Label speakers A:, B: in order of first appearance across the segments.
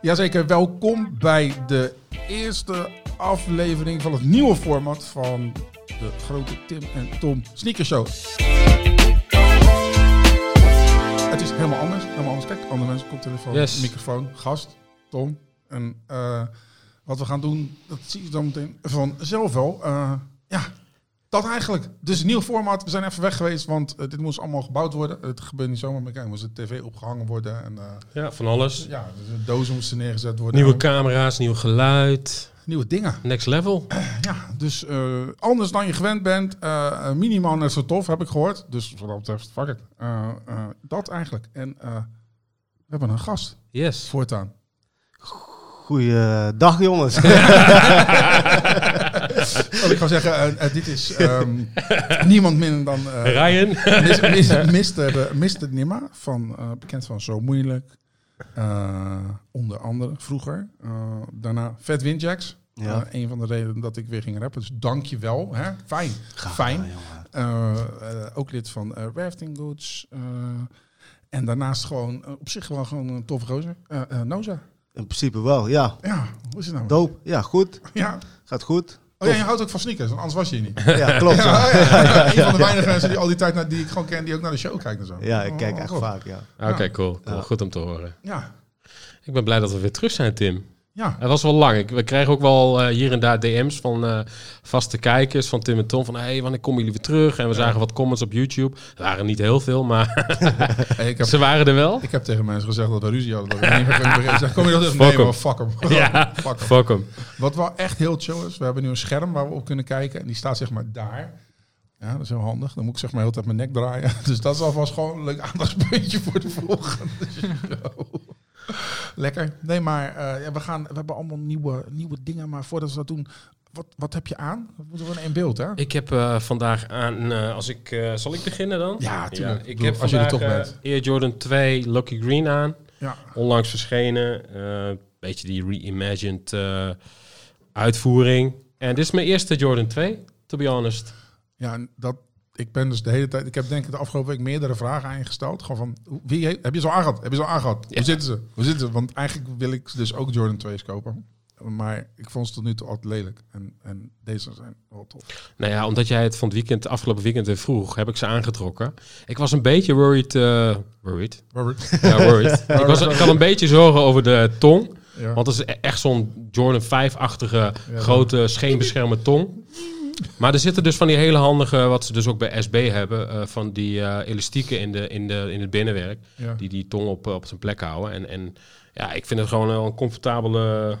A: Jazeker, welkom bij de eerste aflevering van het nieuwe format van de grote Tim en Tom Sneaker Show. Het is helemaal anders, helemaal anders. Kijk, andere mensen, koptelefoon,
B: Yes.
A: microfoon, gast, Tom. En eh, wat we gaan doen, dat zie je dan meteen vanzelf wel. Eh, ja, dat eigenlijk. Dus nieuw format. We zijn even weg geweest, want eh, dit moest allemaal gebouwd worden. Het gebeurt niet zomaar meer. Kijk, er moest de tv opgehangen worden en... eh,
B: Ja, van alles.
A: ja, dus de dozen moesten neergezet worden.
B: Nieuwe camera's, nieuw geluid,
A: Nieuwe dingen.
B: next level.
A: Ja, dus eh, anders dan je gewend bent. eh, minimaal net zo tof, heb ik gehoord. Dus wat dat betreft, fuck it. Eh, eh, dat eigenlijk. En eh, we hebben een gast
B: Yes.
A: voortaan.
C: Goeiedag jongens.
A: Oh, ik ga zeggen, eh, eh, dit is ehm, niemand minder dan eh
B: Ryan.
A: mis, mis, mister, eh, mister Nima, van, eh, bekend van Zo Moeilijk. Eh, onder andere vroeger. Eh, daarna Fat Windjacks.
C: Ja.
A: Eh, een van de redenen dat ik weer ging rappen. Dus dank je wel. Hè? Fijn.
C: Graag
A: Fijn.
C: gedaan, jongen.
A: Eh, eh, ook lid van eh, Rafting Goods. eh, en daarnaast gewoon eh, op zich wel gewoon een toffe gozer. Eh, eh, Noza.
C: In principe wel, ja.
A: Ja, hoe is het nou?
C: Doop, ja goed.
A: ja.
C: Gaat goed.
A: Oh ja, je houdt ook van sneakers, want anders was je hier niet.
C: Ja, klopt. Ja,
A: Ja, ja, ja. Een van de weinige mensen die al die tijd naar, die ik gewoon ken, die ook naar de show kijkt en zo.
C: ja ik kijk
A: Oh,
C: echt
A: goed.
C: vaak, ja.
B: Oké, cool. Cool.
C: Ja.
B: Goed om te horen.
A: Ja,
B: Ik ben blij dat we weer terug zijn, Tim.
A: ja.
B: Het was wel lang. Ik, we kregen ook wel eh, hier en daar DM's van eh, vaste kijkers van Tim en Tom. Van, hé, hey, wanneer komen jullie weer terug? En we zagen wat comments op YouTube. Er waren niet heel veel, maar
A: Hey, ik, heb,
B: ze waren er wel.
A: ik heb tegen mensen gezegd dat we ruzie hadden. Dat we niet meer kunnen beginnen. Ik zeg, Kom je dat dus?
B: Fuck
A: Nee, maar
B: em.
A: fuck hem.
B: Ja,
A: fuck hem.
B: fuck hem.
A: Wat wel echt heel chill is, we hebben nu een scherm waar we op kunnen kijken. En die staat zeg maar daar. Ja, dat is heel handig. Dan moet ik zeg maar heel tijd mijn nek draaien. Dus dat is alvast gewoon een leuk aandachtspuntje voor de volgende show. Lekker. Nee, maar eh, ja, we, gaan, we hebben allemaal nieuwe, nieuwe dingen. Maar voordat we dat doen, wat, wat heb je aan? Dat moeten we in beeld, hè?
B: Ik heb eh, vandaag aan, eh, als ik, eh, zal ik beginnen dan?
A: Ja, tuurlijk.
B: ik
A: Doe,
B: heb
A: als je er
B: vandaag,
A: toch
B: eh,
A: bent.
B: Air Jordan 2 Lucky Green aan.
A: Ja.
B: onlangs verschenen. eh beetje die reimagined eh, uitvoering. En dit is mijn eerste Jordan 2, to be honest.
A: Ja, en dat, ik ben dus de hele tijd... Ik heb denk ik de afgelopen week meerdere vragen aan je gesteld. Gewoon van, hoe- wie he- heb je ze al aangehad? Heb je ze al aangehad?
B: Ja.
A: Hoe zitten ze? Hoe zitten ze? Want eigenlijk wil ik dus ook Jordan 2's kopen. Maar ik vond ze tot nu toe altijd lelijk. En, en deze zijn wel tof.
B: Nou ja, omdat jij het van het weekend, afgelopen weekend weer vroeg, heb ik ze aangetrokken. Ik was een beetje worried. eh, worried?
A: Robert?
B: Ja, worried. ik, was, ik had een beetje zorgen over de tong.
A: Ja.
B: Want het is e- echt zo'n Jordan 5-achtige
A: Ja,
B: grote scheenbeschermde tong. Maar er zitten dus van die hele handige, wat ze dus ook bij SB hebben, eh, van die eh, elastieken in, de, in, de, in het binnenwerk.
A: ja.
B: die die tong op, op zijn plek houden. En, en ja, ik vind het gewoon wel een comfortabele,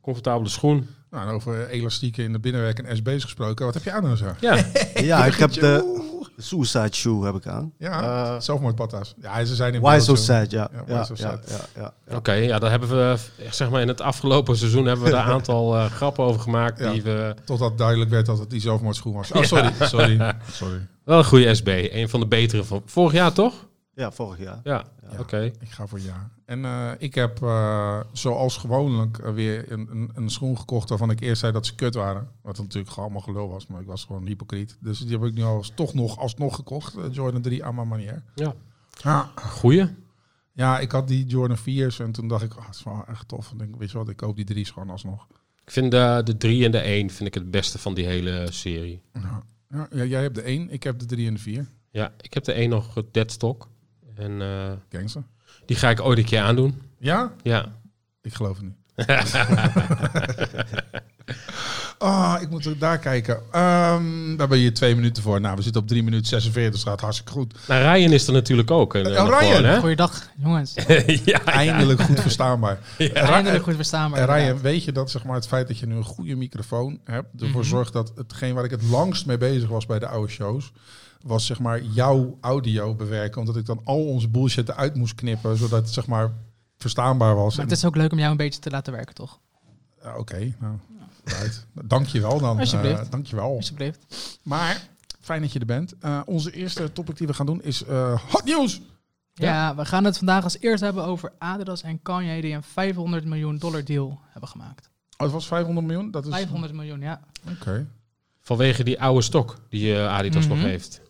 B: comfortabele schoen.
A: Nou, en over elastieken in de binnenwerk en SB's gesproken. Wat heb je aan dan zo?
B: Ja,
C: Ja, ik heb de Suicide Shoe heb ik aan.
A: Ja, zelfmoordpatas. Ja, ze zijn in
C: Eh, Why
A: beeld,
C: So
A: joh.
C: Sad, ja.
A: Ja,
C: Ja,
A: why
C: ja,
A: so
C: ja,
A: sad.
C: ja, ja.
B: oké. ja, daar hebben we, eh, zeg maar, in het afgelopen seizoen hebben we daar een aantal eh, grappen over gemaakt.
A: Ja.
B: Die we,
A: Totdat duidelijk werd dat het die zelfmoordschoen was. Oh, sorry. Sorry. sorry.
B: wel een goede SB, een van de betere van vorig jaar, toch?
C: Ja, vorig jaar.
B: Ja, oké.
A: Ik ga voor ja. En eh, ik heb eh, zoals gewoonlijk eh, weer een, een, een schoen gekocht waarvan ik eerst zei dat ze kut waren. Wat natuurlijk gewoon allemaal gelul was, maar ik was gewoon hypocriet. Dus die heb ik nu als, toch nog alsnog gekocht. eh, Jordan 3 aan mijn manier.
B: Ja.
A: Ja,
B: Goeie.
A: ja, ik had die Jordan 4's en toen dacht ik, ah, het is wel echt tof. En ik denk, weet je wat, ik koop die drie's gewoon alsnog.
B: Ik vind de, de 3 en de 1 vind ik het beste van die hele serie.
A: Ja. Ja, ja, jij hebt de 1, ik heb de 3 en de 4.
B: Ja, ik heb de 1 nog eh, deadstock. En eh,
A: Gangster.
B: die ga ik ooit een keer aandoen.
A: Ja?
B: Ja.
A: Ik geloof het niet. Ah, ik moet ook daar kijken. Ehm we hebben hier twee minuten voor. Nou, we zitten op 3 minuten 46, dus dat gaat hartstikke goed.
B: Nou, Ryan is er natuurlijk ook. En,
A: Eh, Ryan,
D: Goeiedag, jongens.
B: ja,
A: Eindelijk goed verstaanbaar.
D: Eindelijk goed verstaanbaar.
A: En Ryan,
D: inderdaad.
A: weet je dat zeg maar, het feit dat je nu een goede microfoon hebt... ervoor
D: Mhm.
A: zorgt dat hetgeen waar ik het langst mee bezig was bij de oude shows... was zeg maar jouw audio bewerken. Omdat ik dan al onze bullshit eruit moest knippen... zodat het zeg maar verstaanbaar was.
D: Maar
A: En-
D: het is ook leuk om jou een beetje te laten werken, toch?
A: Ja, Oké, nou, right. dank je wel dan.
D: Alsjeblieft.
A: Eh, dank je wel.
D: Alsjeblieft.
A: Maar fijn dat je er bent. Eh, onze eerste topic die we gaan doen is eh, hot nieuws.
D: Ja. we gaan het vandaag als eerst hebben over Adidas en Kanye die een 500 miljoen dollar deal hebben gemaakt.
A: Oh, het was 500 miljoen. Dat is
D: 500 miljoen, ja.
A: Oké.
B: Vanwege die oude stok die eh, Adidas
D: Mhm.
B: nog heeft.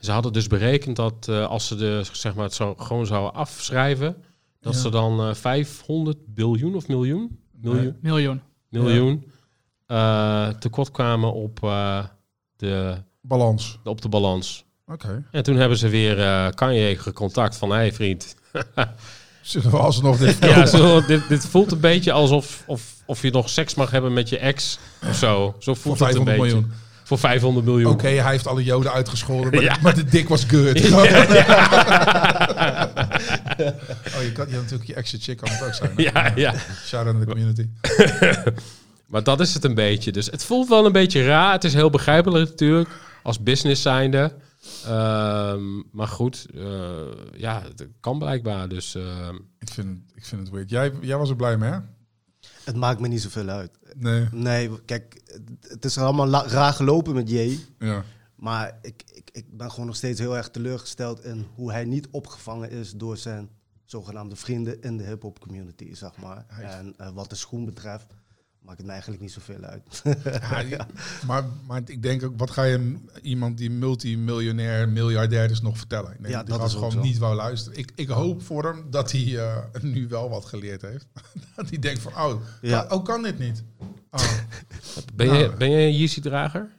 B: Ze hadden dus berekend dat eh, als ze de, zeg maar, het zo, gewoon zouden afschrijven, Dat
A: Ja.
B: ze dan eh, 500 biljoen of miljoen? Miljoen.
D: Miljoen.
B: miljoen eh, tekort kwamen op, eh, de,
A: Balans.
B: op de balans.
A: Oké.
B: En toen hebben ze weer eh Kanye gecontact van, hé hey, vriend.
A: Zullen we alsnog dit
B: ja, zo, dit, dit voelt een beetje alsof of, of je nog seks mag hebben met je ex of zo. Zo
A: voor
B: voelt het een
A: 500
B: beetje.
A: miljoen?
B: Voor 500 miljoen.
A: Oké, hij heeft alle joden uitgescholden, maar,
B: Ja.
A: maar de dik was good. oh, je kan je natuurlijk je exit chick kan het ook zijn. hè?
B: Ja, ja.
A: Shout out aan de community.
B: Maar dat is het een beetje. Dus het voelt wel een beetje raar. Het is heel begrijpelijk natuurlijk, als business zijnde. Ehm, maar goed, eh, ja, het kan blijkbaar. Dus ehm,
A: Ik vind, ik vind het weird. Jij, jij was er blij mee, hè?
C: Het maakt me niet zoveel uit.
A: Nee.
C: Nee, kijk, het- het is allemaal la- raar gelopen met J.
A: Ja.
C: Maar ik, ik, ik ben gewoon nog steeds heel erg teleurgesteld in hoe hij niet opgevangen is door zijn zogenaamde vrienden in de hip-hop community, zeg maar.
A: Hij-
C: En eh, wat de schoen betreft, maakt het me eigenlijk niet zoveel uit.
A: Ja, Maar, maar ik denk ook, wat ga je iemand die multimiljonair, miljardair is nog vertellen? Ik denk
C: Ja,
A: dat
C: dat
A: hij
C: is ook
A: gewoon
C: zo.
A: niet wou luisteren. Ik, ik hoop voor hem dat hij eh, nu wel wat geleerd heeft. dat hij denkt van, oh,
C: Ja.
A: kan, oh, kan dit niet? Oh.
B: ben,
A: Nou.
B: je, ben je een Yeezy-drager?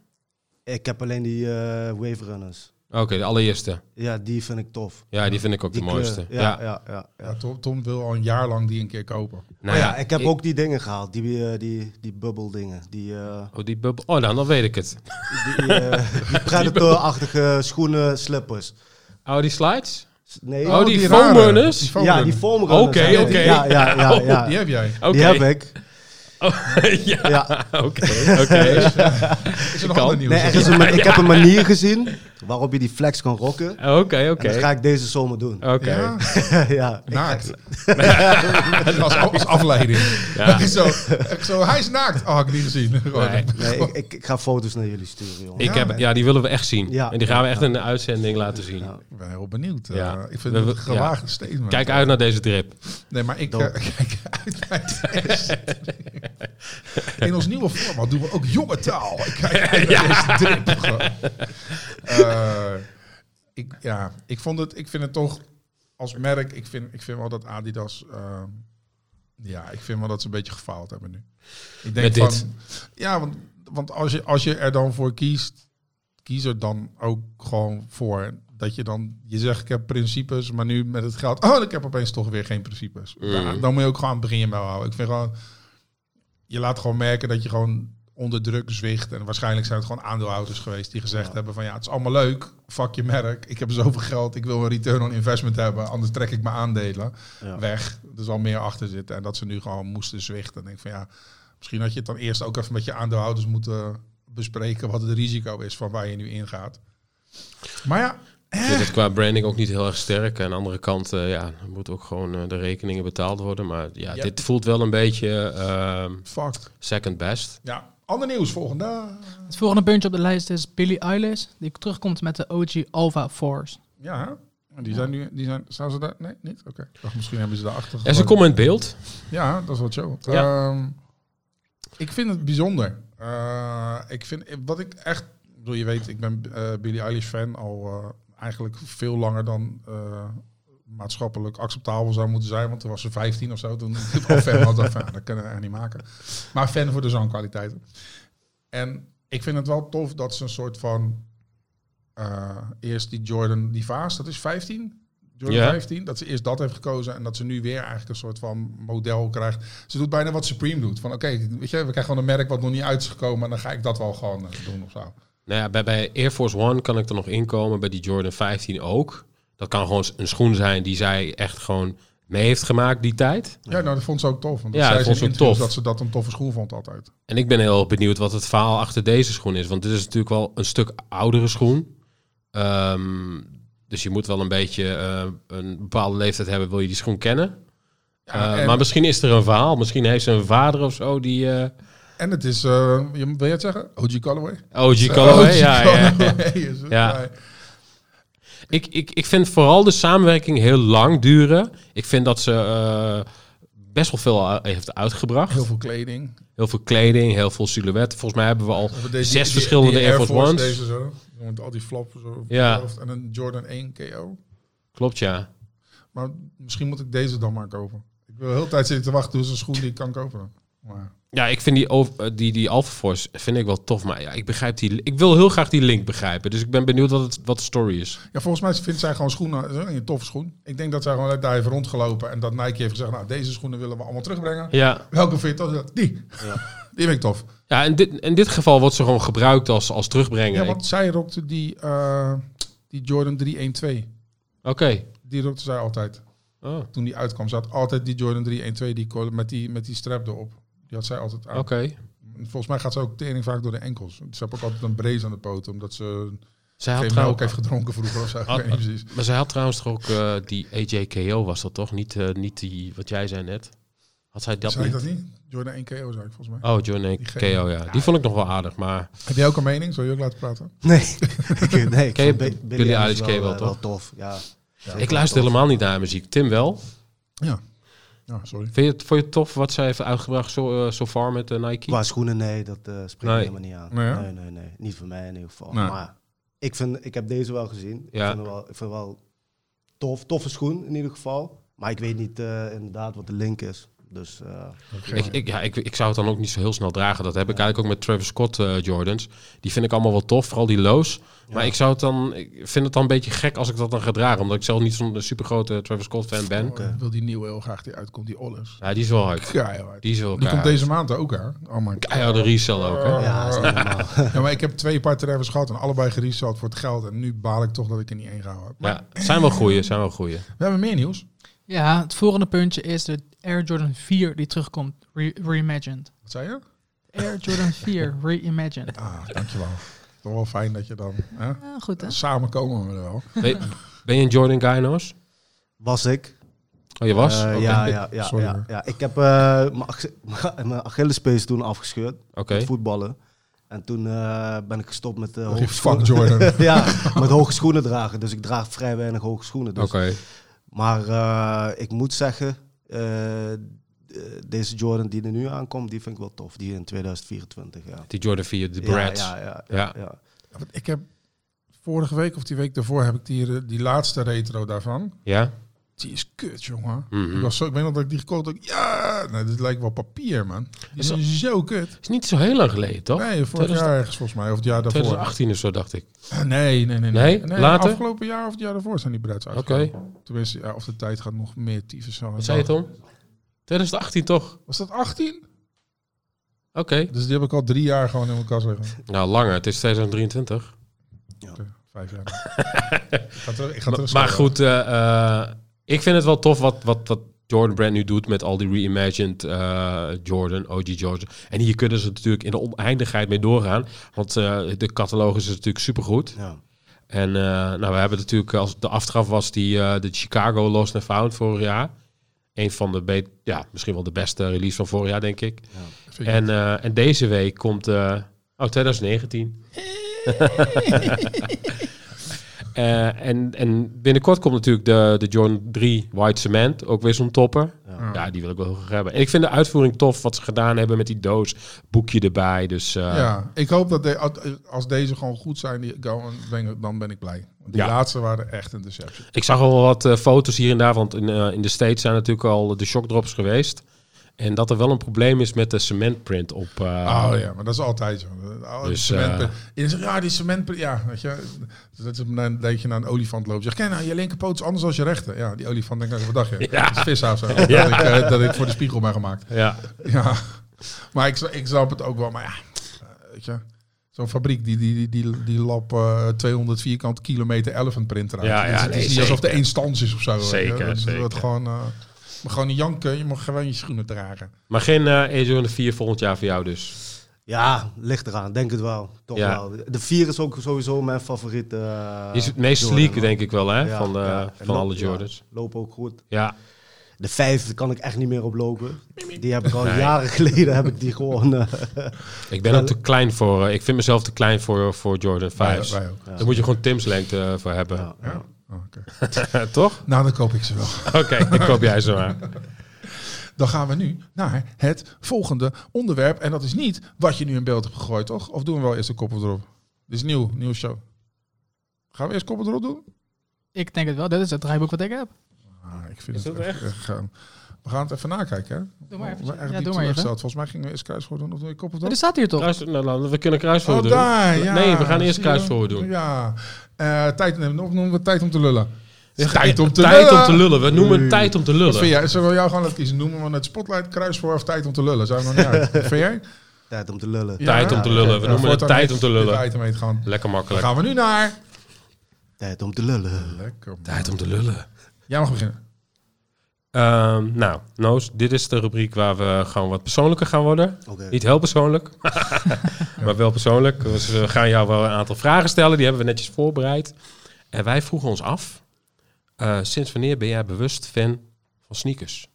C: ik heb alleen die eh Wave Runners.
B: Oké, de allereerste.
C: Ja, die vind ik tof.
B: Ja, die vind ik ook
C: Die
B: de
C: kleur.
B: mooiste.
C: Ja, ja. Ja, ja,
A: Ja, Nou Tom, Tom wil al een jaar lang die een keer kopen.
B: Nou
C: Oh ja, ik heb ook die dingen gehaald, die, eh, die, die bubble dingen. Die, eh,
B: Oh, die bubbel. Oh, dan, dan weet ik het.
C: die, eh, die predator-achtige schoenen, slippers.
B: Oh, die slides?
C: S- Nee,
B: Oh,
A: rare,
B: die foam runners?
A: foam
C: ja,
A: runners.
C: die foamrunners.
B: Oké,
C: ja,
B: oké.
C: Ja, ja, ja. ja,
B: Oh,
A: Die heb jij.
B: Oké.
C: Die heb ik.
B: Oh, ja,
C: Ja.
B: oké. oké.
A: Is er nog
B: kan.
A: ander nieuws?
C: Nee, er is een, ik heb een manier gezien waarop je die flex kan rocken.
B: Oké,
C: En dat ga
B: oké. Oh.
C: ik deze zomer doen.
B: Oké.
A: Ja,
C: ja.
A: naakt. als, als afleiding.
B: Ja.
A: Zo, echt zo, hij is naakt. Oh, had ik niet gezien. Gewoon.
B: Nee.
C: Nee, ik, ik, ik ga foto's naar jullie sturen, jongen.
B: Ik heb, ja, die willen we echt zien.
C: Ja.
B: En die gaan we echt in de uitzending laten zien.
C: Ja.
A: Ik ben heel benieuwd. eh,
B: Ja.
A: ik vind
B: We-
A: het
B: we-
A: een gewaagde statement.
B: Kijk uit naar deze trip.
A: Nee, maar ik
C: Dope.
A: eh, kijk uit naar het eerste. In ons nieuwe format doen we ook jonge taal. Ik kijk uit naar deze drip. gewoon. Eh, ik, ja, ik, vond het, ik vind het toch als merk, ik vind, ik vind wel dat Adidas... eh, ja, ik vind wel dat ze een beetje gefaald hebben nu. Ik denk
B: Met dit.
A: Ja, want, want als, je, als je er dan voor kiest, kies er dan ook gewoon voor dat je dan, je zegt ik heb principes, maar nu met het geld, oh, ik heb opeens toch weer geen principes.
B: Mm.
A: Ja, dan moet je ook gewoon aan het begin je bij houden. Ik vind gewoon, je laat gewoon merken dat je gewoon onder druk zwicht. En waarschijnlijk zijn het gewoon aandeelhouders geweest die gezegd
C: Ja.
A: hebben van ja, het is allemaal leuk, fuck je merk, ik heb zoveel geld, ik wil een return on investment hebben, anders trek ik mijn aandelen
C: Ja.
A: weg. Er zal meer achter zitten. En dat ze nu gewoon moesten zwichten. En ik van ja, misschien had je het dan eerst ook even met je aandeelhouders moeten bespreken wat het risico is van waar je nu ingaat. Maar ja,
B: Ik vind het qua branding ook niet heel erg sterk. Aan de andere kant, eh, ja, er moet ook gewoon eh, de rekeningen betaald worden. Maar ja,
A: Ja.
B: dit voelt wel een beetje ehm,
A: fuck.
B: second best.
A: Ja, ander nieuws volgende.
D: Het volgende puntje op de lijst is Billie Eilish, die terugkomt met de OG Alpha Force.
A: Ja, hè? En die zijn nu, die zijn, staan ze daar? Nee, niet? Oké. Ik dacht, Misschien hebben ze daarachter
B: En ze
A: gegooid.
B: komen in beeld.
A: Ja, dat is wel chill. Ehm, ik vind het bijzonder. Eh, ik vind, wat ik echt, ik bedoel, je weet, ik ben eh Billie Eilish fan al eh, eigenlijk veel langer dan eh, maatschappelijk acceptabel zou moeten zijn. Want toen was ze 15 of zo. Toen ik al fan was, dacht van, ja, dat kunnen we echt niet maken. Maar fan voor de zangkwaliteiten. En ik vind het wel tof dat ze een soort van eh, eerst die Jordan, die vaas, dat is 15. Jordan
B: Ja.
A: 15, dat ze eerst dat heeft gekozen en dat ze nu weer eigenlijk een soort van model krijgt. Ze doet bijna wat Supreme doet. Van oké, weet je, we krijgen gewoon een merk wat nog niet uit is gekomen en dan ga ik dat wel gewoon eh, doen of zo.
B: Nou ja, bij, bij Air Force One kan ik er nog inkomen. Bij die Jordan 15 ook. Dat kan gewoon een schoen zijn die zij echt gewoon mee heeft gemaakt die tijd.
A: Ja, nou, dat vond ze ook tof. Want
B: Ja,
A: ja,
B: dat
A: zij
B: vond
A: vond
B: ze
A: ze
B: ook
A: tof.
B: tof.
A: Dat ze dat een toffe schoen vond altijd.
B: En ik ben heel erg benieuwd wat het verhaal achter deze schoen is. Want dit is natuurlijk wel een stuk oudere schoen. Ehm, dus je moet wel een beetje eh, een bepaalde leeftijd hebben, wil je die schoen kennen.
A: Ja,
B: Eh,
A: Ah, en,
B: maar misschien is er een verhaal. Misschien heeft ze een vader of zo die... eh,
A: en het is, eh, je wil je het zeggen? OG Callaway?
B: OG Callaway,
A: OG
B: ja, ja.
A: Callaway is het.
B: Ja.
A: Nee.
B: Ik, ik, ik vind vooral de samenwerking heel lang duren. Ik vind dat ze eh, best wel veel eh, heeft uitgebracht.
A: Heel veel kleding.
B: Heel veel kleding, heel veel silhouetten. Volgens mij hebben we al
A: Of deze-
B: zes
A: die-
B: verschillende
A: die
B: Air Force Ones.
A: Deze zo. Met al die flappen zo. op
B: Ja.
A: de helft En een Jordan 1 KO.
B: Klopt, ja.
A: Maar misschien moet ik deze dan maar kopen. Ik wil de hele tijd zitten te wachten tussen een schoen die ik kan kopen. Maar
B: Ja, ik vind die, over- eh, die, die Alpha Force vind ik wel tof. Maar ja, ik, begrijp die, ik wil heel graag die link begrijpen. Dus ik ben benieuwd wat, het, wat de story is.
A: ja, volgens mij vindt zij gewoon schoenen, eh, een toffe schoen. Ik denk dat zij gewoon daar heeft rondgelopen en dat Nike heeft gezegd, nou deze schoenen willen we allemaal terugbrengen.
B: Ja,
A: Welke vind je tof? Die. Die vind ik tof.
B: ja in, dit, in dit geval wordt ze gewoon gebruikt als, als terugbrengen.
A: Ja,
B: Ik-
A: want zij rookte die, eh, die Jordan 312.
B: Oké.
A: Die rookte zij altijd.
B: Oh, Oké.
A: Toen die uitkwam, ze had altijd die Jordan 312 die col- met die, met die strap erop. Die had zij altijd aan. Volgens mij gaat ze ook tering vaak door de enkels. Ze heeft ook altijd een brace aan de poot, omdat ze
B: Zij had
A: geen melk
B: trouwens,
A: heeft gedronken vroeger
B: Ah,
A: of zo. Ik weet niet precies.
B: maar zij had trouwens toch ook eh, die AJKO was dat toch? Niet, eh, niet die, wat jij zei net. Had zij dat
A: Zei ik
B: niet?
A: dat niet? Jordan 1 KO zei ik volgens mij.
B: Oh, John en
A: Die
B: KO, ja. Die vond ik nog wel aardig, maar...
A: Heb jij ook een mening? Zou je ook laten praten?
C: Nee, ik, nee, ik
B: Ken je
C: vind
B: Billie
C: Bi-
B: Eilish
C: Eilish
B: ken je wel,
C: eh,
B: toch?
C: tof, ja. Zeker
B: ik luister
C: tof.
B: helemaal niet naar haar muziek. Tim wel.
A: Ja. Ja, sorry.
B: Vind je het, vond je het tof wat zij heeft uitgebracht zo, eh, so far met eh, Nike?
C: Qua schoenen, nee, dat eh spreekt
B: Nee.
C: me helemaal niet aan.
A: Nee, hè?
C: Nee, nee, nee. Niet voor mij in ieder geval.
A: Nee.
C: Maar ik, vind, ik heb deze wel gezien.
B: Ja.
C: Ik vind het wel, ik vind het wel tof. Toffe schoen in ieder geval. Maar ik weet niet eh, inderdaad wat de link is. Dus eh,
B: Ik, ik, ja, ik, ik zou het dan ook niet zo heel snel dragen. Dat heb ik eigenlijk ook met Travis Scott eh, Jordans. Die vind ik allemaal wel tof, vooral die lows. Maar ik, zou het dan, ik vind het dan een beetje gek als ik dat dan ga dragen. Omdat ik zelf niet zo'n supergrote Travis Scott fan ben.
A: Oh, ik wil die nieuwe heel graag die uitkomt, die Olles.
B: Ja, die is wel hard.
A: Ja, heel hard.
B: Die is wel
A: Die komt
B: keihard.
A: deze maand ook, hè? Oh my god.
B: Keiharde resell ook, hè?
C: ja, is niet normaal.
A: Ja, maar ik heb twee paar treffers gehad en allebei gereseld voor het geld. En nu baal ik toch dat ik er niet één gehouden heb. Maar
B: Ja, zijn wel goeie, zijn wel goeie.
A: we hebben meer nieuws.
D: Ja, het volgende puntje is de Air Jordan 4 die terugkomt, re- reimagined.
A: Wat zei je?
D: Air Jordan 4 reimagined.
A: Ah, dankjewel. Toch wel fijn dat je dan... Hè?
D: Ja, Eh, goed hè?
A: Samen komen we er wel.
B: Ben, ben je een Jordan guy, Noos?
C: Was ik.
B: Oh, je was?
C: Eh,
B: Oké.
C: ja, ja, ja,
A: Sorry, hoor.
C: ja, ja. Ik heb eh, mijn ach- mijn Achillespees toen afgescheurd.
B: Oké.
C: met voetballen. En toen eh, ben ik gestopt met eh
A: Dacht je,
C: hoge
A: "Fuck
C: schoenen.
A: Jordan."
C: ja, met hoge schoenen dragen. Dus ik draag vrij weinig hoge schoenen. Dus.
B: Oké.
C: Maar eh, ik moet zeggen, eh, eh, deze Jordan die er nu aankomt, die vind ik wel tof. Die in 2024, ja.
B: Die Jordan 4, de
C: Ja,
B: Brads.
C: Ja, ja, ja,
B: Ja.
C: ja.
A: Ja, want Ik heb vorige week of die week daarvoor heb ik die, eh, die laatste retro daarvan.
B: Ja?
A: Die is kut, jongen.
B: Mhm.
A: Ik, was zo, ik weet nog dat ik die gekocht heb. Ja, nou, dit lijkt wel papier, man. Die
B: Is
A: is,
B: dat- Oh,
A: zo kut.
B: Is niet zo heel lang geleden, toch?
A: Nee, vorig
B: 2000
A: jaar ergens volgens mij. Of het jaar daarvoor.
B: 2018 of zo, dacht ik.
A: Nee, nee, nee.
B: Nee? Later?
A: Afgelopen jaar of het jaar daarvoor zijn die breads
B: Oké.
A: uitgekomen. Tenminste, ja, of de tijd gaat nog meer tyfus aan.
B: Wat zei je, Tom? 2018 toch?
A: Was dat 18?
B: Oké.
A: Dus die heb ik al drie jaar gewoon in mijn kast liggen.
B: Nou, langer. Het is 2023.
A: Oké, Vijf jaar. ik ga terug, ik ga
B: Maar,
A: terug
B: maar
A: scrollen.
B: goed, eh, eh, ik vind het wel tof wat, wat, wat Jordan Brand nu doet met al die reimagined eh, Jordan, OG Jordan. En hier kunnen ze natuurlijk in de oneindigheid mee doorgaan. Want eh, de catalogus is natuurlijk supergoed.
C: ja.
B: En eh, nou, we hebben natuurlijk, als de aftraf was die eh, de Chicago Lost and Found vorig jaar. Een van de, be- ja, misschien wel de beste release van vorig jaar, denk ik.
A: Vind ik-
B: En, eh, en deze week komt. eh, oh, 2019. Eh, en, en binnenkort komt natuurlijk de, de Jordan 3 White Cement. Ook weer zo'n topper. Ja.
C: Ja.
B: die wil ik wel heel graag hebben. En ik vind de uitvoering tof wat ze gedaan hebben met die doos. Boekje erbij. Dus eh,
A: ja, ik hoop dat de, als deze gewoon goed zijn, die, dan, ben ik, dan ben ik blij. Want die
B: Ja.
A: laatste waren echt een deceptie.
B: ik zag al wel wat eh, foto's hier en daar. Want in, eh, in de States zijn natuurlijk al de shockdrops geweest. En dat er wel een probleem is met de cementprint op. eh,
A: oh ja, maar dat is altijd zo. Oh, die
B: Dus,
A: cementprint. Je zegt, ja, die cementprint. Ja, weet je. Dat, is, dan- dat je naar een olifant loopt. Je zegt, kijk nou, je linkerpoot is anders dan je rechter. Ja, die olifant denkt, nou, wat dacht je?
B: Ja.
A: Dat is vishaaf zo. Dat, ik, eh, dat ik voor de spiegel ben gemaakt.
B: Ja,
A: Ja, maar ik, sna- ik snap het ook wel. Maar ja, eh, weet je, zo'n fabriek die, die, die, die, die lab eh, 200 vierkante kilometer elephant printer uit.
B: Ja,
A: Het
B: ja,
A: is- het is
B: nee,
A: niet alsof
B: zeker.
A: de één stans is of zo. weet je.
B: Zeker,
A: Het is
B: zeker.
A: wat gewoon, eh, maar gewoon niet janken, je mag gewoon je schoenen dragen.
B: maar geen eh Air Jordan 4 volgend jaar voor jou dus.
C: ja, ligt eraan. Denk het wel. Toch
B: Ja.
C: wel. De 4 is ook sowieso mijn favoriete. eh,
B: Die is het meest
C: Jordan,
B: sleek,
C: man.
B: denk ik wel, hè?
C: Ja,
B: van de,
C: ja. En
B: van
C: loop-
B: alle
C: ja,
B: Jordans.
C: loop ook goed.
B: Ja.
C: De vijf kan ik echt niet meer oplopen. Die heb ik al jaren geleden heb ik die gewoon. eh,
B: Ik ben ook te klein voor. eh, ik vind mezelf te klein voor, eh, voor Jordan 5.
A: Wij, wij ook.
B: Daar moet je gewoon Tim's lengte eh, voor hebben.
C: ja, ja.
A: Oh, oké.
B: Toch?
A: Nou, dan koop ik ze wel.
B: Oké, ik koop jij zo aan.
A: Dan gaan we nu naar het volgende onderwerp. En dat is niet wat je nu in beeld hebt gegooid, toch? Of doen we wel eerst de koppen erop? Dit is nieuw, nieuwe show. Gaan we eerst koppen erop doen?
D: Ik denk het wel, dit is het draaiboek wat ik heb.
A: Oké, Ah, ik vind
B: Is
A: het
B: dat
A: echt, echt, eh, we gaan het even nakijken. Hè?
D: Doe maar
A: We-
D: even.
A: we- echt
D: Ja,
A: die
D: doe maar even.
A: teleurgesteld. Volgens mij gingen we eerst kruisvoer doen of doe je kop op dat?
D: Er staat hier toch?
B: Kruis, nou, laten we kunnen kruisvoer
A: Oh,
B: doen.
A: daar, ja.
B: Nee, we gaan eerst
A: Zie je?
B: kruisvoer doen.
A: Ja. Eh, tijd, nog noemen we tijd om te lullen.
B: Ja,
A: tijd om te
B: tijd
A: lullen.
B: om te lullen. We noemen
A: Oei.
B: het tijd om te
A: Wat vind
B: lullen.
A: jij? Zullen we jou gewoon laten kiezen? Noemen we het spotlight, kruisvoer of tijd om te lullen? Zijn we nog niet uit. Wat vind jij?
C: Tijd om te lullen.
A: Ja.
B: Tijd om te lullen. We
A: Ja,
B: noemen het
A: voortaan
B: tijd
A: dit-
B: om te
A: Dit
B: lullen.
A: item heet gewoon.
B: Lekker
A: Dan
B: makkelijk.
A: gaan we nu naar.
C: Tijd om te lullen.
A: Lekker. man.
B: Tijd om te lullen.
A: Jij mag beginnen.
B: Ehm, nou, Noos, dit is de rubriek waar we gewoon wat persoonlijker gaan worden.
C: Oké.
B: Niet heel persoonlijk, maar wel persoonlijk. Dus we gaan jou wel een aantal vragen stellen. Die hebben we netjes voorbereid. En wij vroegen ons af, eh, sinds wanneer ben jij bewust fan van sneakers?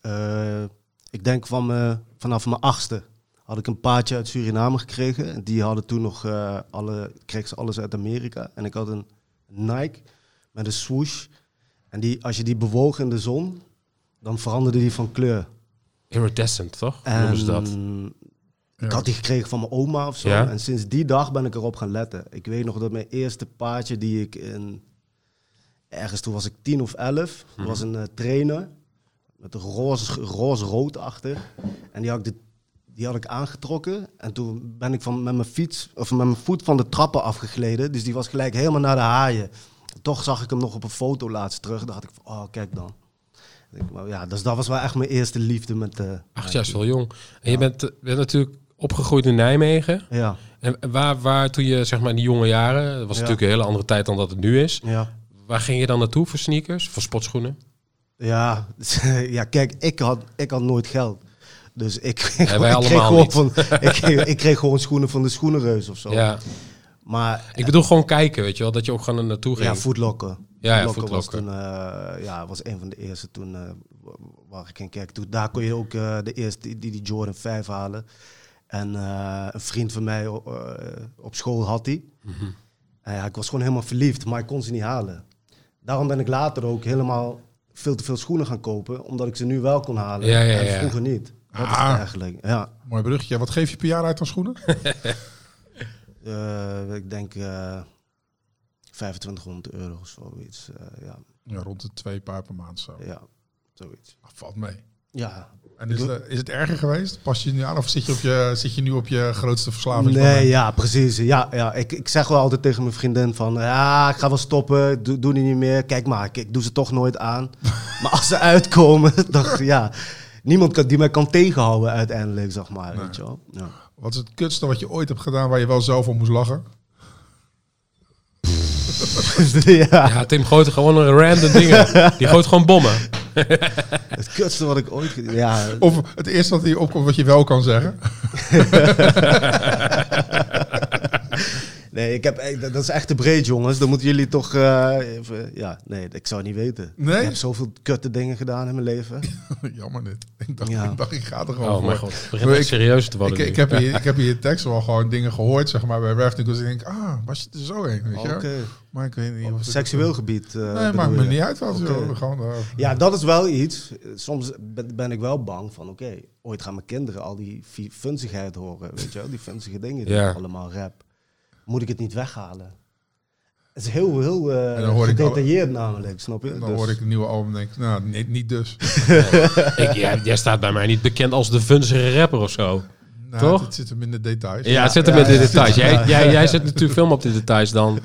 C: Eh, ik denk van me, vanaf mijn achtste had ik een paardje uit Suriname gekregen. En Die hadden toen nog eh, alle, kreeg ze alles uit Amerika. En ik had een Nike met een swoosh. En die, als je die bewoog in de zon, dan veranderde die van kleur.
B: Iridescent, toch? Hoe
C: En
B: noemen ze
A: Ehm,
B: dat?
A: Ja.
C: Ik had die gekregen van mijn oma of zo.
B: Ja.
C: En sinds die dag ben ik erop gaan letten. Ik weet nog dat mijn eerste paardje die ik in... Ergens toen was ik tien of elf.
B: Mhm.
C: Er was een eh, trainer met een roze, roze rood achter. En die had, ik de, die had ik aangetrokken. En toen ben ik van, met mijn fiets of met mijn voet van de trappen afgegleden. Dus die was gelijk helemaal naar de haaien. Toch zag ik hem nog op een foto laatst terug. Dacht ik van, oh kijk dan. Ik denk, maar ja, dus dat was wel echt mijn eerste liefde met... eh,
B: Acht jaar is wel jong. En je bent, eh, bent natuurlijk opgegroeid in Nijmegen.
C: ja,
B: En waar, waar toen je, zeg maar, in die jonge jaren... Dat was
C: Ja.
B: natuurlijk een hele andere tijd dan dat het nu is.
C: ja.
B: Waar ging je dan naartoe voor sneakers? Voor sportschoenen?
C: Ja, ja kijk, ik had, ik had nooit geld. Dus ik, ik,
B: wij
C: kreeg,
B: allemaal
C: gewoon
B: niet.
C: van, ik, kreeg- ik kreeg gewoon schoenen van de schoenenreus of zo.
B: Ja.
C: Maar
B: Ik bedoel gewoon kijken, weet je wel. Dat je ook gewoon er naartoe ging.
C: ja, voetlokken.
B: Ja, ja,
C: Footlocker was,
B: Footlocker.
C: toen, eh, ja, was een van de eerste toen eh, wa- waar ik in keek. Toen, daar kon je ook eh, de eerste die, die Jordan 5 halen. En eh, een vriend van mij o- eh, op school had die.
B: Mhm.
C: En ja, ik was gewoon helemaal verliefd, maar ik kon ze niet halen. Daarom ben ik later ook helemaal veel te veel schoenen gaan kopen, omdat ik ze nu wel kon halen
B: Ja, ja, ja.
C: en vroeger niet. Dat is
A: Ah.
C: het eigenlijk. Ja,
A: Mooi bruggetje. Wat geef je per jaar uit aan schoenen?
C: Eh, ik denk eh 2500 euro of zoiets. Eh, ja,
A: Ja, rond de twee paar per maand zo.
C: ja, zoiets.
A: Valt mee.
C: Ja,
A: En is, de- is het erger geweest? Pas je nu aan of zit je, op je, zit je nu op je grootste verslaving?
C: Nee, ja, precies. Ja, ja. Ik, ik zeg wel altijd tegen mijn vriendin van... Ja, ik ga wel stoppen, doe, doe die niet meer. Kijk maar, ik, ik doe ze toch nooit aan. maar als ze uitkomen, dan ja... Niemand kan, die mij kan tegenhouden uiteindelijk, zeg maar. Weet je wel? Ja.
A: Wat is het kutste wat je ooit hebt gedaan waar je wel zelf om moest lachen?
C: ja.
B: Ja, Tim gooit gewoon een random dingen. Die gooit gewoon bommen.
C: Het kutste wat ik ooit... ge- Ja,
A: Of het eerste wat je opkomt wat je wel kan zeggen?
C: nee, ik heb, echt- dat dat is echt te breed, jongens. Dan moeten jullie toch... eh, even, ja, nee, ik zou het niet weten.
A: Nee?
C: Ik heb zoveel kutte dingen gedaan in mijn leven.
A: Jammer dit. Ik dacht,
C: Ja.
A: ik, dacht, ik ga er gewoon
B: Oh
A: voor.
B: mijn god, het begint echt
A: Ik-
B: serieus te
A: Ik,
B: worden
A: ik,
B: nu.
A: heb hier, ik heb hier in tekst wel gewoon dingen gehoord, zeg maar, bij Werfting. Dus ik denk, ah, was je er zo heen, weet je wel?
C: Oké.
A: Maar ik weet niet of
C: Op
A: het-
C: seksueel gebied. eh,
A: Nee, maakt
C: bedoel
A: me
C: je?
A: niet uit. Wat,
C: Oké.
A: joh. gewoon, eh,
C: Ja, dat is wel iets. Soms ben, ben ik wel bang van, oké, ooit gaan mijn kinderen al die fi- funzigheid horen, weet je wel? Die funzige dingen, die
B: Ja.
C: allemaal rap. Moet ik het niet weghalen? Het is heel, heel eh,
A: En dan hoor ik al-
C: gedetailleerd namelijk, snap je?
A: dan
C: Dus-
A: hoor ik een nieuwe album en denk ik, nou, nee, niet dus.
B: Ik- jij, jij staat bij mij niet bekend als de vunzige rapper of zo.
A: Nou,
B: Toch?
A: Het, het zit hem in de details.
B: Ja, het zit hem
C: ja,
B: in de
C: ja.
B: details. Jij, jij, jij zit natuurlijk veel meer op de details dan,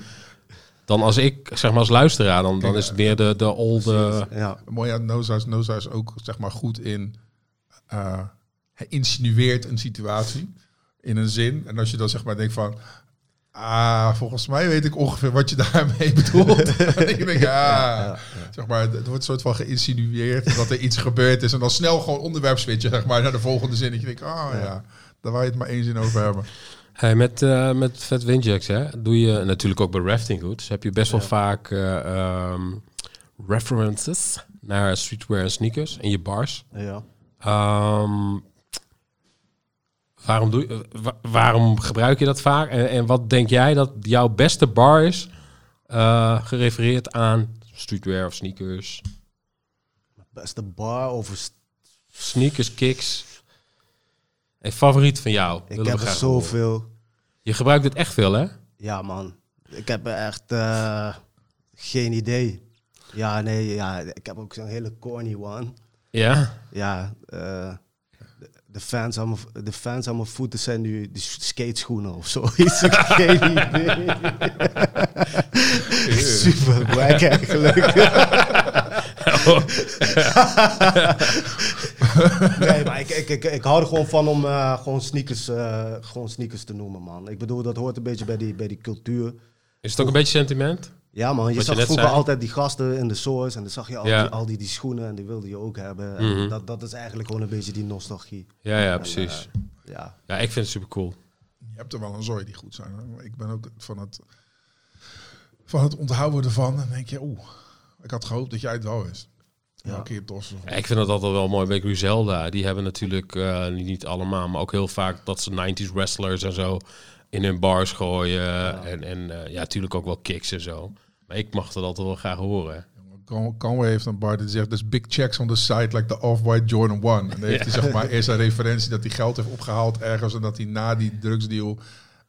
B: dan als ik, zeg maar als luisteraar. Dan, dan is het weer de, de olde...
C: Ja,
A: Mooi aan Noza is Noza is ook zeg maar goed in. eh, hij insinueert een situatie in een zin. En als je dan zeg maar denkt van. Ah, volgens mij weet ik ongeveer wat je daarmee bedoelt. en ik denk, ah, zeg maar, het wordt soort van geïnsinueerd dat er iets gebeurd is. En dan snel gewoon onderwerp switchen, zeg maar, naar de volgende zin. Dat je denkt, ah ja, daar wou je het maar één zin over hebben.
B: Hey, met, eh met Vet Windjacks, hè, doe je natuurlijk ook bij Rafting Goods. Heb je best wel vaak eh, ehm, references naar streetwear en sneakers in je bars.
C: ja.
B: Ehm, waarom, doe, je- eh, wa- waarom gebruik je dat vaak? En, en wat denk jij dat jouw beste bar is eh, gerefereerd aan streetwear of sneakers?
C: Beste bar over... st-
B: Sneakers, kicks. En favoriet van jou?
C: Ik
B: willen we
C: heb er
B: graag horen.
C: zoveel.
B: Je gebruikt het echt veel, hè?
C: Ja, man. Ik heb er echt eh, geen idee. Ja, nee, ja, ik heb ook zo'n hele corny one.
B: Ja?
C: Ja, eh, de- de fans, aan mijn, de fans aan mijn voeten zijn nu de s- skateschoenen of zoiets. Ik heb Geen idee. Super wack eigenlijk. nee, maar ik, ik, ik, ik hou er gewoon van om eh, gewoon, sneakers, eh, gewoon sneakers te noemen, man. Ik bedoel, dat hoort een beetje bij die, bij die cultuur.
B: Is het ook een beetje sentiment?
C: Ja, man, je
B: je
C: zag
B: net
C: vroeger
B: zei.
C: altijd die gasten in de source en dan zag je al,
B: Ja.
C: die, al die, die schoenen en die wilde je ook hebben. En
B: Mhm.
C: dat, dat is eigenlijk gewoon een beetje die nostalgie. eh,
B: Ja, ja, precies.
C: Ja.
B: Ja, ik vind het super cool.
A: Je hebt er wel een zooi die goed zijn. hoor. Maar Ik ben ook van het, van het onthouden ervan. Dan denk je, oeh, ik had gehoopt dat jij het wel wist. Ja. Elke keer dorst.
B: Ja, ik vind dat altijd wel mooi bij Griselda. Die hebben natuurlijk, eh, niet allemaal, maar ook heel vaak dat ze 90s wrestlers en zo in hun bars gooien. En, en eh, ja, natuurlijk ook wel kicks en zo. Maar ik mag dat altijd wel graag horen.
A: Con- Conway heeft een bar die zegt, there's big checks on the side like the off-white Jordan 1. En dan heeft hij zeg maar eerst een referentie dat hij geld heeft opgehaald ergens en dat hij na die drugsdeal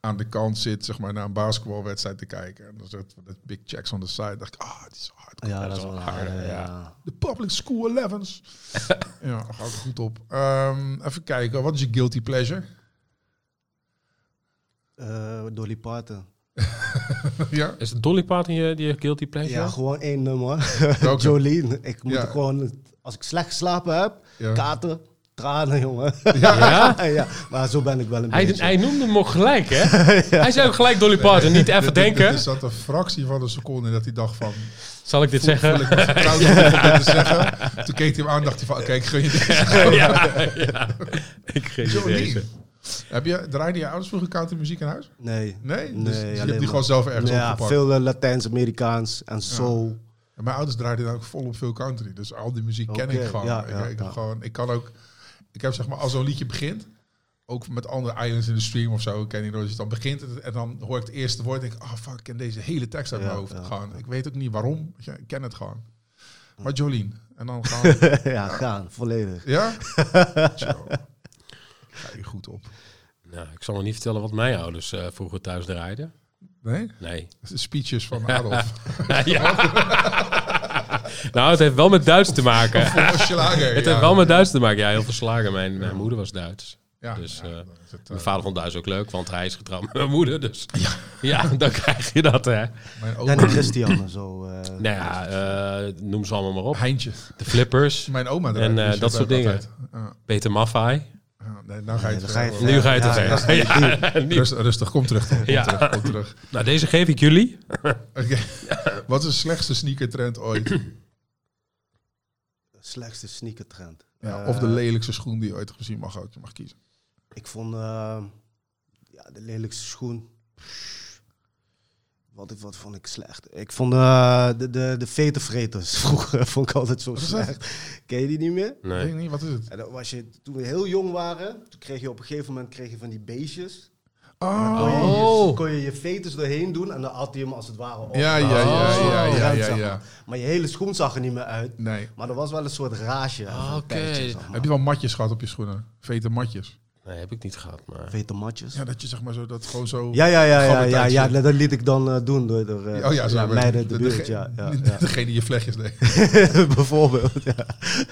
A: aan de kant zit, zeg maar, naar een basketbalwedstrijd te kijken. En dan zegt hij, "There's big checks on the side. dacht ik, ah, dit is hard.
C: Ja, dat is wel een aardige,
B: aardige,
C: ja.
A: De public school 11s. ja, gaat er goed op. Ehm, even kijken, wat is je guilty pleasure?
C: Eh, Dolly Parton.
A: ja,
B: Is het Dolly Parton je, die guilty pleasure?
C: Ja, gewoon één nummer.
A: Welke?
C: Jolene. Ik moet
A: Ja.
C: gewoon, als ik slecht geslapen heb,
A: Ja.
C: kater, tranen, jongen.
B: Ja?
C: ja, maar zo ben ik wel een
B: Hij,
C: beetje.
B: hij noemde hem ook gelijk, hè? Hij zei ook gelijk Dolly Parton, niet even
A: Dit- dit-
B: denken.
A: Dit is dat een fractie van een seconde dat hij dacht van...
B: Zal ik dit zeggen?
A: Voel ik me vertrouwd genoeg om dit te zeggen. Toen keek hij hem aan en dacht hij van... Oké, ik gun je dit.
B: ja, ja. Ik geef je deze.
A: Jolien. Heb je, draaide je ouders vroeger country muziek in huis?
C: Nee.
A: Nee? Dus-
C: Nee,
A: dus je hebt
C: alleen
A: die
C: maar-
A: gewoon zelf ergens
C: ja,
A: opgepakt.
C: veel eh, Latijns-Amerikaans en soul.
A: En Mijn ouders draaiden dan ook volop veel country. Dus al die muziek ken
C: Oké,
A: ik gewoon.
C: ja,
A: ik,
C: ja,
A: ik,
C: ja.
A: heb gewoon. ik kan ook... Ik heb zeg maar, als zo'n liedje begint... Ook met andere islands in de stream of zo, ken ik nooit. Dus dan begint het en dan hoor ik het eerste woord en denk ik... Ah, fuck, ik ken deze hele tekst uit
C: Ja,
A: mijn hoofd.
C: ja.
A: Gewoon, ik weet ook niet waarom. weet je, Ik ken het gewoon. Maar Jolien. En dan gewoon...
C: Ja, gaan, volledig.
A: Ja? Zo. Ga je goed op.
B: Nou, ik zal nog niet vertellen wat mijn ouders eh, vroeger thuis draaiden.
A: Nee?
B: Nee.
A: De speeches van Adolf.
B: ja. nou, het heeft wel met Duits te maken.
A: Voor Schlager.
B: Het
A: ja.
B: heeft wel met Duits te maken. Ja, heel verslagen. Mijn, mijn moeder was Duits.
A: Ja,
B: dus,
A: ja,
B: eh,
A: dan is het, eh,
B: Mijn vader vond Duits ook leuk, want hij is getrouwd met mijn moeder. Dus ja, dan krijg je dat, hè.
A: mijn opa,
C: Dan Christian en zo. eh,
B: Nou ja, eh, noem ze allemaal maar op.
A: Heintje.
B: De Flippers,
A: Mijn oma.
B: En,
A: draait
B: eh,
A: die shit
B: dat soort
A: ook
B: dingen.
A: altijd. Ja.
B: Peter Maffay.
A: Ja, nee, nou ga je
C: nee,
A: het
C: dan ga je
A: verder.
B: Nu ga je
C: verder.
B: het
C: Ja,
B: zeggen.
C: ja, ja.
B: Ja, niet-
A: Rustig, rustig, kom terug. Tom, Kom
B: Ja.
A: terug, kom terug.
B: Nou, deze geef ik jullie.
A: Oké. Wat is de slechtste sneakertrend ooit?
C: Slechtste sneakertrend.
A: Ja,
C: Eh,
A: of de lelijkste schoen die je ooit hebt gezien mag ook. Je mag kiezen.
C: Ik vond eh, ja, de lelijkste schoen. Wat, wat vond ik slecht? Ik vond eh, de, de, de vetenvreters vroeger vond ik altijd zo
A: Wat is dat?
C: slecht. Ken je die niet meer?
A: Ik
B: Nee.
A: weet niet, wat is het?
C: En dan was je, toen we heel jong waren, toen kreeg je op een gegeven moment kreeg je van die beestjes.
A: Oh.
C: Kon je, je,
B: Oh.
C: kon je je vetus doorheen doen en dan at hij hem als het ware op.
A: Ja, ja, ja,
C: Oh.
A: ja, ja, ja,
C: Zeg
A: ja.
C: maar. Maar je hele schoen zag er niet meer uit.
A: Nee.
C: Maar er was wel een soort rage.
B: Ah,
C: van
B: oké.
C: tijdje, zeg maar.
A: Heb je wel matjes gehad op je schoenen? Vete matjes.
B: nee, heb ik niet gehad, maar...
C: Vetematjes.
A: Ja, dat je zeg maar zo, dat gewoon zo...
C: Ja, ja, ja, ja, ja,
A: Gabbertijdje.
C: ja, dat liet ik dan eh, doen door, door eh,
A: Oh ja, zo.
C: ja,
A: maar
C: meiden in de,
A: de-
C: buurt,
A: dege-
C: ja. ja, ja.
A: Degene die je vlechtjes deed.
C: Bijvoorbeeld, ja.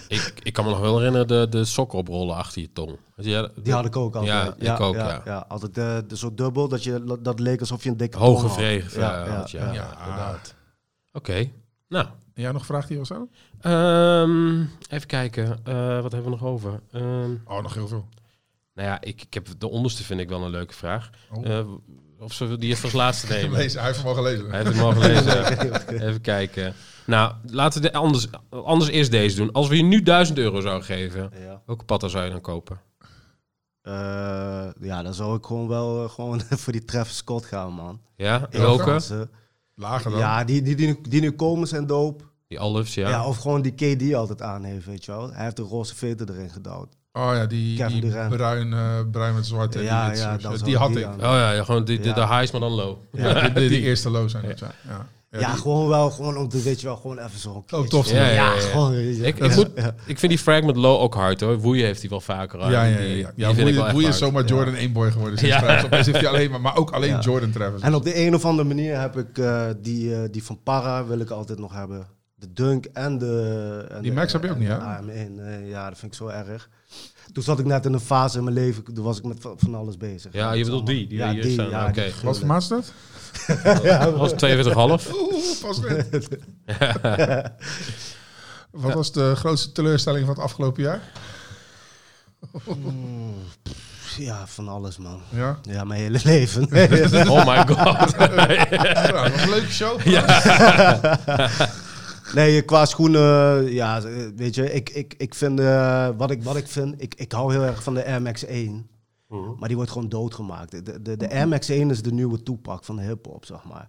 B: Ik, ik kan me nog wel herinneren de, de sokken oprollen achter je tong. Ja,
C: Die had ik ook altijd.
B: Ja, ik ook, ja.
C: altijd eh, de, zo dubbel, dat, je, dat leek alsof je een dikke tong
B: Hoge
C: had.
B: vreeg.
C: Ja,
B: Ja,
C: ja,
B: had je, ja,
A: ja.
B: inderdaad. Oké, nou.
A: En jij nog vraagt hier of zo?
B: Ehm, even kijken, Eh, wat hebben we nog over? Ehm,
A: Oh, nog heel veel.
B: nou ja, ik, ik heb, de onderste vind ik wel een leuke vraag.
A: Oh.
B: Eh, of zullen we die even als laatste
A: Lezen,
B: nemen?
A: Hij heeft hem al gelezen.
B: Hij heeft hem al gelezen. even kijken. Nou, laten we de, anders, anders eerst deze doen. Als we je nu 1000 euro zouden geven,
C: Ja.
B: welke patta zou je dan kopen?
C: Eh, ja, dan zou ik gewoon wel eh, gewoon voor die Travis Scott gaan, man.
B: Ja,
C: Ik
B: welke?
C: vind ze-
A: Lager dan.
C: Ja, die, die, die, nu, die nu komen zijn doop.
B: Die olives,
C: Ja.
B: ja.
C: of gewoon die KD altijd aan heeft, weet je wel. Hij heeft de roze veter erin gedouwd.
A: Oh ja, die,
C: Kevin
A: die
C: Durant.
A: bruin, eh, bruin met zwart. eh,
C: Ja,
A: die wit
C: ja,
A: soort.
C: dat
A: Eh,
C: zou
A: die had
C: die
A: ik.
C: aan.
B: Oh ja, ja, gewoon de, de,
C: Ja.
B: de highs, maar dan low.
A: Ja, die, die- die eerste low zijn dat, ja. ja.
C: Ja,
A: Ja, die-
C: gewoon wel, gewoon om te, weet je wel, gewoon even zo'n
A: Oh,
C: kleedje.
A: tof.
B: Ja, ja, ja, ja.
C: gewoon, weet je.
B: Ik,
C: Ja.
B: ik moet- ik vind die fragment low ook hard hoor. Woeie heeft hij wel vaker. aan.
A: Ja, ja, ja.
B: Die-
A: ja.
B: die
A: ja
B: vind ik wel
A: Boeien,
B: echt
A: Boeien is
B: hard.
A: zomaar Jordan 1 boy geworden. Sinds
B: Ja.
A: Travis. Opeens heeft hij alleen maar, maar ook alleen
C: Ja.
A: Jordan Travis.
C: En op de een of andere manier heb ik eh, die, eh, die van Para wil ik altijd nog hebben. De dunk en de... En
A: Die
C: de-
A: Max heb je ook
C: en
A: niet,
C: de
A: hè?
C: AM1. Nee, eh, ja, dat vind ik zo erg. Toen zat ik net in een fase in mijn leven, toen was ik met van van alles bezig.
B: Ja, je bedoelt die, die
C: ja,
B: hier
C: die,
B: staan,
C: ja,
B: oké.
C: die
A: Wat voor
C: gruwelijk.
A: maat is dat?
B: Dat was 42,5.
A: Oeh, pas net. Wat was de grootste teleurstelling van het afgelopen jaar?
C: Mm, pff, Ja, van alles, man.
A: Ja.
C: Ja, mijn hele leven. Nee,
B: Oh my god.
A: Ja, dat was een leuke show.
C: Nee, eh, qua schoenen, ja, weet je, ik, ik, ik vind, eh, wat, ik, wat ik vind, ik, ik hou heel erg van de Air Max 1.
B: Mhm.
C: Maar die wordt gewoon doodgemaakt. De, de, de Air Max 1 is de nieuwe toepak van de hip-hop, zeg maar.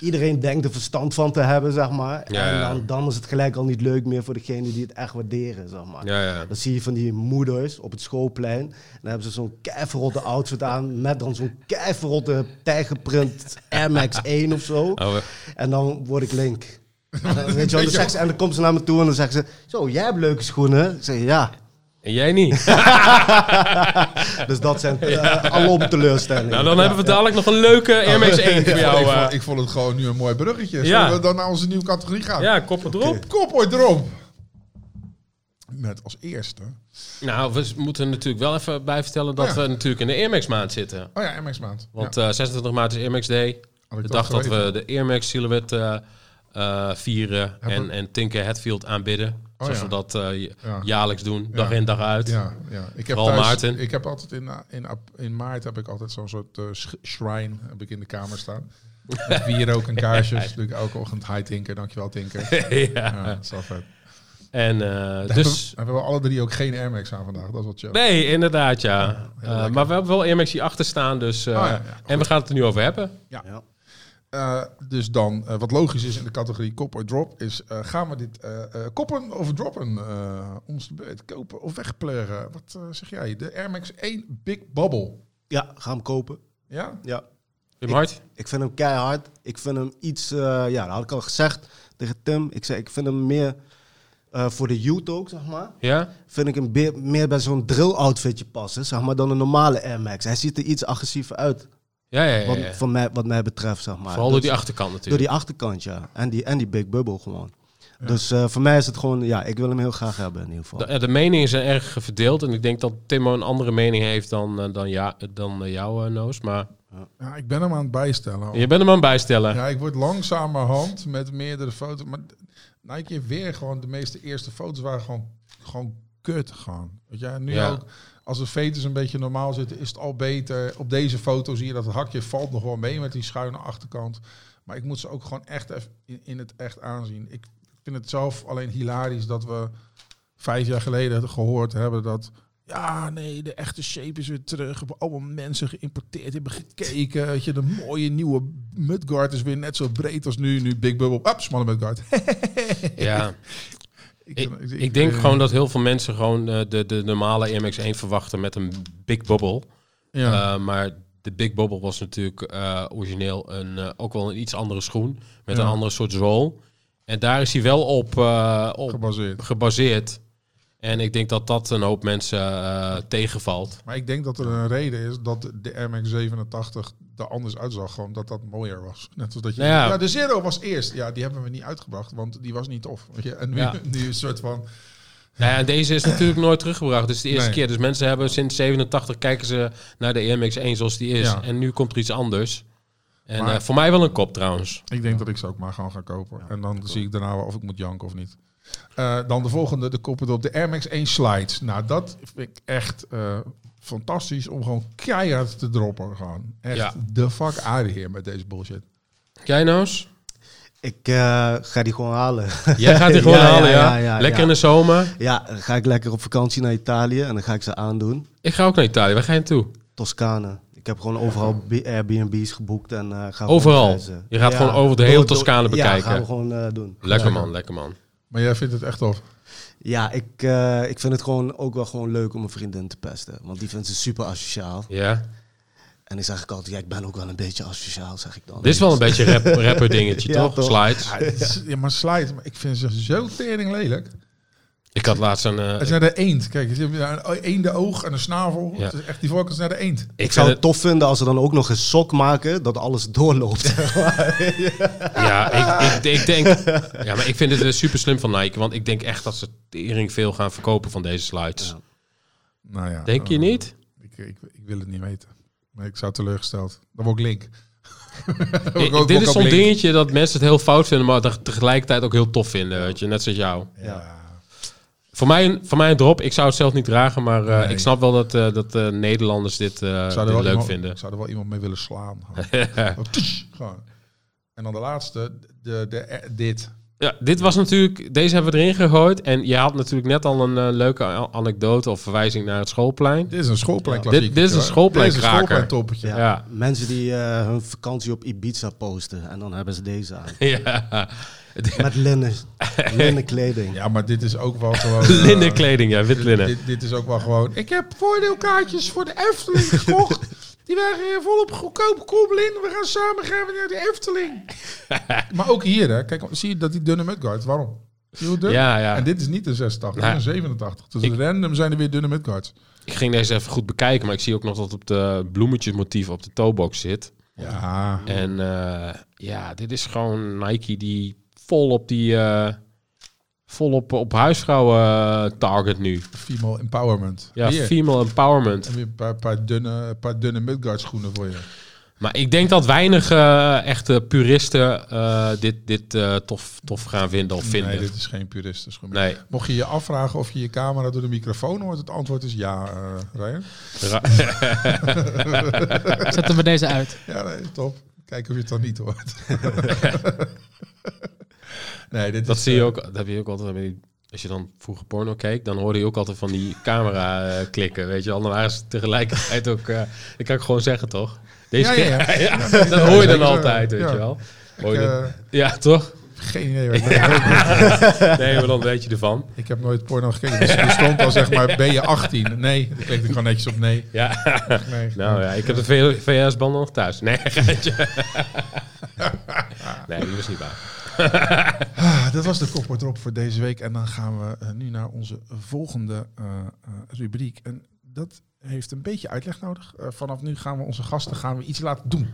C: Iedereen denkt er verstand van te hebben, zeg maar.
B: Ja, ja.
C: En dan, dan is het gelijk al niet leuk meer voor degenen die het echt waarderen, zeg maar.
B: Ja, ja.
C: Dan zie je van die moeders op het schoolplein. En dan hebben ze zo'n keiverrotte outfit aan. Met dan zo'n keiverrotte tijgerprint Air Max 1 of zo.
B: Oh, we-
C: En dan word ik link. En dan, weet je wel, dan zegt ze- en dan komt ze naar me toe en dan zegt ze... Zo, jij hebt leuke schoenen. Ik zeg ja.
B: En jij niet.
C: Dus dat zijn eh alom teleurstellingen.
B: Nou, dan
C: Ja,
B: hebben we dadelijk nog een leuke Air Max 1 voor jou.
A: Oh. ik, vond,
B: eh.
A: ik vond het gewoon nu een mooi bruggetje. Zullen
B: Ja.
A: we dan naar onze nieuwe categorie gaan?
B: Ja, kop het erop.
A: Kop ooit erop. Met als eerste.
B: Nou, we s- moeten natuurlijk wel even bij vertellen dat
A: Oh ja.
B: we natuurlijk in de Air Max maand zitten.
A: Oh ja, MX maand.
B: Want eh, 26 maart is Air Max Day.
A: Had ik dat
B: De dag dat we
A: geweten.
B: de Air Max silhouette eh, eh, vieren en,
A: we- Oh
B: en Tinker Hatfield aanbidden. zoals
A: ja.
B: we dat eh, j-
A: Ja.
B: jaarlijks doen, dag
A: Ja.
B: in dag uit.
A: Ja, ja. Ik heb
B: eh, Vooral
A: thuis,
B: Maarten.
A: Ik heb altijd in, eh, in, ap- in maart heb ik altijd zo'n soort eh, sch- shrine heb ik in de kamer staan. Met bier ook en kaarsjes. Doe ik elke ochtend hi Tinker, dankjewel Tinker.
B: Ja. Dus-
A: Ja, dat is wel vet.
B: En eh,
A: Dus...
B: dus...
A: We hebben wel alle drie ook geen Air Max aan vandaag. Dat is wel chill.
B: Nee, inderdaad, ja.
A: heel
B: Eh,
A: lekker.
B: maar we hebben wel Air Max hier achter staan, dus... eh,
A: Oh, ja, ja.
B: en we gaan het er nu over hebben.
C: ja.
A: Eh, dus dan, eh, wat logisch is in de categorie kop of drop, is eh, gaan we dit eh, eh, koppen of droppen? Eh, ons de beurt, kopen of wegpleuren? Wat eh, zeg jij? De Air Max 1 Big Bubble.
C: Ja, ga hem kopen.
A: Ja?
C: Ja.
B: Wim Hart?
C: Ik vind hem keihard. Ik vind hem iets... eh, ja, dat had ik al gezegd tegen Tim. Ik zei, ik vind hem meer... eh, voor de youth ook, zeg maar.
B: Ja?
C: Vind ik hem be- meer bij zo'n drill outfitje passen, zeg maar, dan een normale Air Max. Hij ziet er iets agressiever uit,
B: Ja, ja, ja.
C: wat,
B: ja.
C: van mij, wat mij betreft, zeg maar.
B: Vooral
C: Dus-
B: door die achterkant
C: Door
B: natuurlijk.
C: die achterkant, ja. En die, en die Big Bubble gewoon. Dus eh, voor mij is het gewoon, ja, ik wil hem heel graag hebben in ieder geval.
B: De, de meningen zijn erg verdeeld. En ik denk dat Timo een andere mening heeft dan, eh, dan, ja, dan eh, jou, eh, Noos. Maar
A: ja, ik ben hem aan het bijstellen. al.
B: je bent hem aan het bijstellen.
A: Ja, ik word langzamerhand met meerdere foto's. Maar Nike heeft weer gewoon de meeste eerste foto's waren gewoon, gewoon kut. Gewoon. Weet je, en nu
B: Ja.
A: ook, als de veters een beetje normaal zitten, is het al beter. Op deze foto zie je dat het hakje valt nog wel mee met die schuine achterkant. Maar ik moet ze ook gewoon echt even in, in het echt aanzien. Ik vind het zelf alleen hilarisch dat we vijf jaar geleden gehoord hebben dat. Ja, nee, de echte shape is weer terug. Hebben allemaal mensen geïmporteerd, hebben gekeken. Weet je, de mooie nieuwe mudguard is weer net zo breed als nu. Nu Big Bubble, up, smalle mudguard.
B: Ja, ik,
A: vind-
B: ik denk gewoon dat heel veel mensen gewoon eh, de, de normale MX1 verwachten met een Big Bubble.
A: Ja,
B: Eh, maar de Big Bubble was natuurlijk eh, origineel een, eh, ook wel een iets andere schoen. Met
A: Ja.
B: een andere soort zool. En daar is hij wel op, eh, op
A: gebaseerd.
B: gebaseerd. En ik denk dat dat een hoop mensen eh, tegenvalt.
A: Maar ik denk dat er een reden is dat de MX-87 er anders uitzag. Gewoon dat dat mooier was. Net als dat je...
B: Nou ja.
A: ja. de Zero was eerst. Ja, die hebben we niet uitgebracht, want die was niet tof. Weet je? En nu,
B: Ja.
A: nu is het soort van...
B: Nou ja, deze is natuurlijk nooit teruggebracht. Dus de eerste
A: Nee.
B: keer. Dus mensen hebben sinds 87 kijken ze naar de MX1 zoals die is.
A: Ja.
B: En nu komt er iets anders. En
A: Maar-
B: eh, voor mij wel een kop trouwens.
A: Ik denk dat ik ze ook maar gewoon ga kopen. en dan zie ik daarna wel of ik moet janken of niet. Eh, dan de volgende, de koppen op de Air Max 1 Slide. Nou, dat vind ik echt eh, fantastisch om gewoon keihard te droppen. Gewoon.
B: Ja.
A: Echt de fuck out of here met deze bullshit.
B: Jij Noos?
C: Ik eh, ga die gewoon halen.
B: Jij gaat die gewoon
C: Ja, ja,
B: halen, ja.
C: ja, ja,
B: Lekker
C: ja.
B: in de zomer.
C: Ja, dan ga ik lekker op vakantie naar Italië en dan ga ik ze aandoen.
B: Ik ga ook naar Italië. Waar ga je naartoe?
C: Toscane. Ik heb gewoon overal B- Airbnb's geboekt en eh, ga gewoon
B: Overal?
C: reizen.
B: Je gaat gewoon over de hele
C: Door- door-
B: Toscane
C: Ja,
B: bekijken.
C: gaan we gewoon eh, doen.
B: Lekker man, lekker man.
A: Maar jij vindt het echt tof.
C: Ja, ik, eh, ik vind het gewoon ook wel gewoon leuk om een vriendin te pesten. Want die vindt ze super asociaal.
B: Ja.
C: En dan zeg ik altijd, ja, ik ben ook wel een beetje asociaal, zeg ik dan.
B: Dit is wel een beetje rap, rapper dingetje,
C: Ja,
B: toch?
C: toch?
B: Slides.
A: Ja, het is- ja, maar Slide, maar ik vind ze zo tering lelijk.
B: Ik had laatst een... eh,
A: Het is naar de eend. Kijk, ze hebben een eende oog en een snavel.
B: Ja.
A: Het is echt die voorkant is naar de eend.
B: ik
C: Ik zou
B: vind
C: het tof vinden als ze dan ook nog een sok maken dat alles doorloopt.
B: Ja, ik, ik, ik denk. Ja, maar ik vind het super slim van Nike. Want ik denk echt dat ze tering veel gaan verkopen van deze slides.
C: Ja. Oh.
A: Nou ja,
B: Denk je
A: eh,
B: niet?
A: Ik, ik, ik wil het niet weten. Maar ik zou teleurgesteld. Dan word ik link. Dan word
B: Ik-
A: Oh, ik ook- word
B: dit is
A: ik
B: zo'n
A: ook link.
B: dingetje dat mensen het heel fout vinden, maar dat tegelijkertijd ook heel tof vinden. Weet je, net zoals jou.
A: Ja.
B: Voor mij, een, voor mij een drop. Ik zou het zelf niet dragen, maar eh,
A: Nee.
B: ik snap wel dat, eh, dat eh, Nederlanders dit, eh,
A: Ik
B: dit
A: zou, er
B: leuk
A: wel iemand,
B: vinden.
A: ik zou er wel iemand mee willen slaan. Gewoon tsch, gewoon. En dan de laatste, de, de, eh, dit.
B: Ja, dit was natuurlijk, deze hebben we erin gegooid. En je had natuurlijk net al een eh, leuke a- anekdote of verwijzing naar het schoolplein.
A: Dit is een schoolplein
B: Ja. Dit- dit is een schoolplein
A: Dit is een schoolplein
B: kraker.
A: toppetje.
C: Ja.
B: Ja.
C: Mensen die eh, hun vakantie op Ibiza posten en dan hebben ze deze aan.
B: ja.
C: Met linnen, linnen kleding.
A: Ja, maar dit is ook wel gewoon... eh,
B: Linnen kleding, ja, wit
A: dit-
B: linnen.
A: Dit, dit is ook wel gewoon... Ik heb voordeelkaartjes voor de Efteling gekocht. Die waren eh, volop goedkoop. Kom Lin, we gaan samen gaan we naar de Efteling. maar ook hier, hè. Kijk, zie je dat die dunne mudguard? Waarom? Zie je hoe dun?
B: Ja, ja.
A: En dit is niet een 86, dit is een 87. Dus
B: Ik-
A: random zijn er weer dunne mudguards.
B: Ik ging deze even goed bekijken, maar ik zie ook nog dat op de bloemetjesmotief op de toebox zit.
A: Ja.
B: En eh, ja, dit is gewoon Nike die vol op die eh, vol op, op huisvrouwen eh, target nu.
A: Female empowerment.
B: Ja,
A: Hier.
B: female empowerment.
A: En weer een paar, paar dunne, paar dunne mudguard schoenen voor je.
B: Maar ik denk dat weinig eh, echte puristen eh, dit, dit eh, tof, tof gaan vinden of vinden.
A: Nee,
B: Nee,
A: dit is geen puristenschoen. Mocht je je afvragen of je je camera door de microfoon hoort, het antwoord is ja, eh Ryan.
B: Ra-
D: Zet hem bij deze uit.
A: Ja, nee, top. Kijk of je het dan niet hoort. nee, dit
B: dat
A: is,
B: zie je
A: eh,
B: ook, dat heb je ook altijd. met die- Als je dan vroeger porno keek, dan hoorde je ook altijd van die camera eh, klikken. Weet je, wel. dan waren ze tegelijkertijd ook. eh dat kan ik gewoon zeggen, toch? Deze
A: Ja, ja, ja.
B: keer- ja, dat hoor je dan
A: zeker.
B: altijd, weet
A: Ja.
B: je wel. Hoor
A: Ik,
B: je dat-
A: eh,
B: ja, toch?
A: geen idee. waar ik ben.
B: Nee, maar dan weet je ervan.
A: Ik heb nooit porno gekeken. Dus er stond al zeg maar, ben je 18? Nee, dan klikte ik gewoon netjes op nee.
B: Ja,
A: nee.
B: nou ja, ik heb de VS-banden nog thuis. Nee, geintje. Nee, die was niet waar.
A: Ah, dat was de kopwoord erop voor deze week. En dan gaan we eh, nu naar onze volgende eh, eh, rubriek. En dat heeft een beetje uitleg nodig. Eh, vanaf nu gaan we onze gasten gaan we iets laten doen.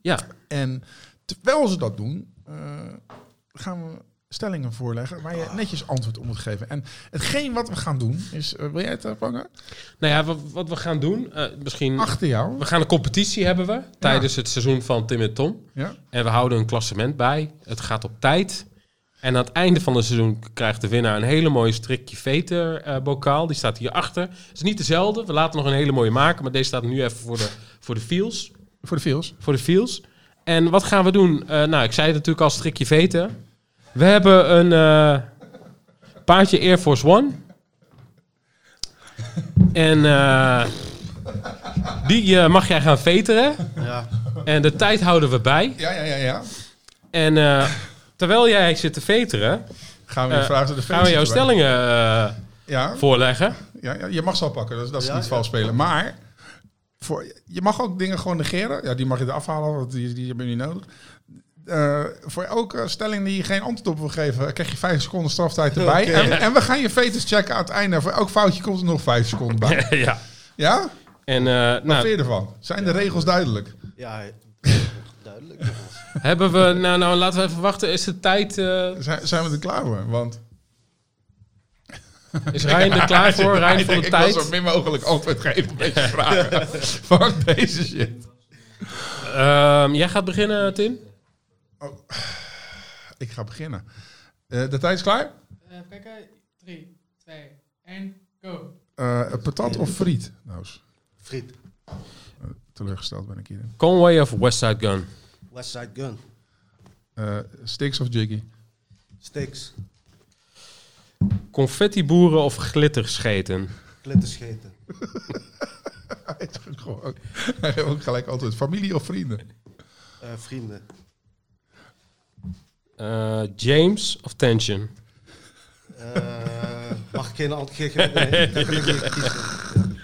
B: Ja,
A: En terwijl ze dat doen, eh, gaan we stellingen voorleggen waar je netjes antwoord op moet geven. En hetgeen wat we gaan doen is, eh, wil jij het vangen?
B: nou ja, wat, wat we gaan doen, eh, misschien...
A: Achter jou.
B: We gaan een competitie hebben we tijdens het seizoen van Tim en Tom.
A: Ja.
B: En we houden een klassement bij. Het gaat op tijd. En aan het einde van het seizoen krijgt de winnaar een hele mooie strikje veter eh, bokaal. Die staat hierachter. Het is niet dezelfde. We laten nog een hele mooie maken. Maar deze staat nu even voor de, voor de feels.
A: Voor de feels.
B: Voor de feels. En wat gaan we doen? Eh, nou, ik zei het natuurlijk al, strikje veter. We hebben een eh paardje Air Force One. En eh, die eh, mag jij gaan veteren.
C: Ja.
B: En de tijd houden we bij.
A: Ja, ja, ja, ja.
B: En eh, terwijl jij zit te veteren,
A: Gaan we weer
B: Eh,
A: vragen door de
B: gaan we jouw
A: feels erbij.
B: stellingen eh,
A: Ja,
B: voorleggen.
A: ja, ja, je mag ze al pakken, dat, is- dat is
C: Ja,
A: niet
C: ja.
A: vals spelen. Maar voor, je mag ook dingen gewoon negeren. Ja, die mag je eraf halen, want die, die hebben we niet nodig. Eh, voor elke stelling die je geen antwoord op wil geven, krijg je 5 seconden straftijd erbij.
C: Oké.
A: En, en we gaan je veters checken aan het einde. Voor elk foutje komt er nog 5 seconden bij.
B: ja.
A: Ja?
B: En eh,
A: Wat
B: nou,
A: vind je ervan? Zijn de regels duidelijk?
C: Ja, duidelijk.
B: hebben we, nou, nou, laten we even wachten. Is de tijd, eh,
A: Zijn, zijn we er klaar voor? Want
B: is Rijn er klaar voor? Rijn voor de
A: ik wil
B: tijd?
A: zo min mogelijk antwoord geven op deze vragen. Fuck deze shit.
B: Ehm, jij gaat beginnen, Tim?
A: Ik ga beginnen. Eh, de tijd is klaar?
D: Even kijken. 3, 2, 1, go.
A: Eh, patat of friet? Nou, eens,
C: Friet,
A: teleurgesteld ben ik hierin.
B: Conway of Westside Gun?
C: Westside Gun,
A: Eh sticks of jiggy?
C: Sticks,
B: Confettiboeren of glitterscheten?
C: Klitterscheten,
A: Hij heeft ook gewoon- hij heeft ook gelijk altijd familie of vrienden.
C: eh, Vrienden,
B: Eh, James of Tension?
C: Eh, mag ik geen antwoord geven? Nee, ik kan gelukkig niet kiezen.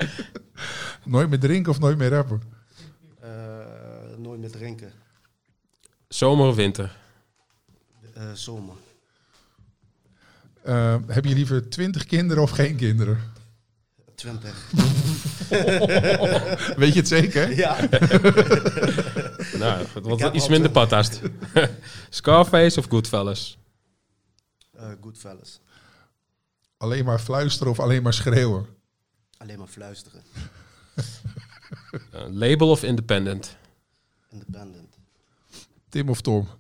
A: Nooit meer drinken of nooit meer rappen.
C: Eh, nooit meer drinken.
B: Zomer of winter?
C: Eh, zomer.
A: Eh, heb je liever 20 kinderen of geen kinderen?
C: 20.
A: Weet je het zeker?
C: Ja.
B: Nou, wat- wat,
C: heb
B: iets
C: al
B: minder patast. Scarface of Goodfellas?
C: Eh Goodfellas.
A: Alleen maar fluisteren of alleen maar schreeuwen?
C: Alleen maar fluisteren.
B: Eh, label of Independent?
C: Independent.
A: Tim of Tom?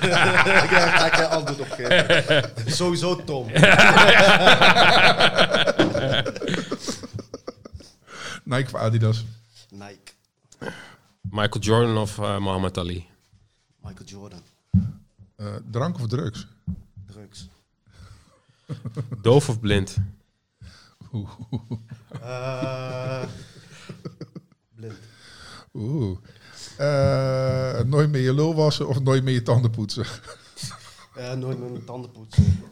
C: Daar ga ik geen antwoord op geven. Sowieso Tom.
A: Nike of Adidas?
C: Nike.
B: Michael Jordan of eh, Muhammad Ali?
C: Michael Jordan.
A: Eh, drank of drugs?
C: Drugs.
B: Doof of blind?
C: Eh, blind.
A: Oeh. Eh, nooit meer je lul wassen of nooit meer je tanden poetsen?
C: Eh, nooit met mijn tanden poetsen.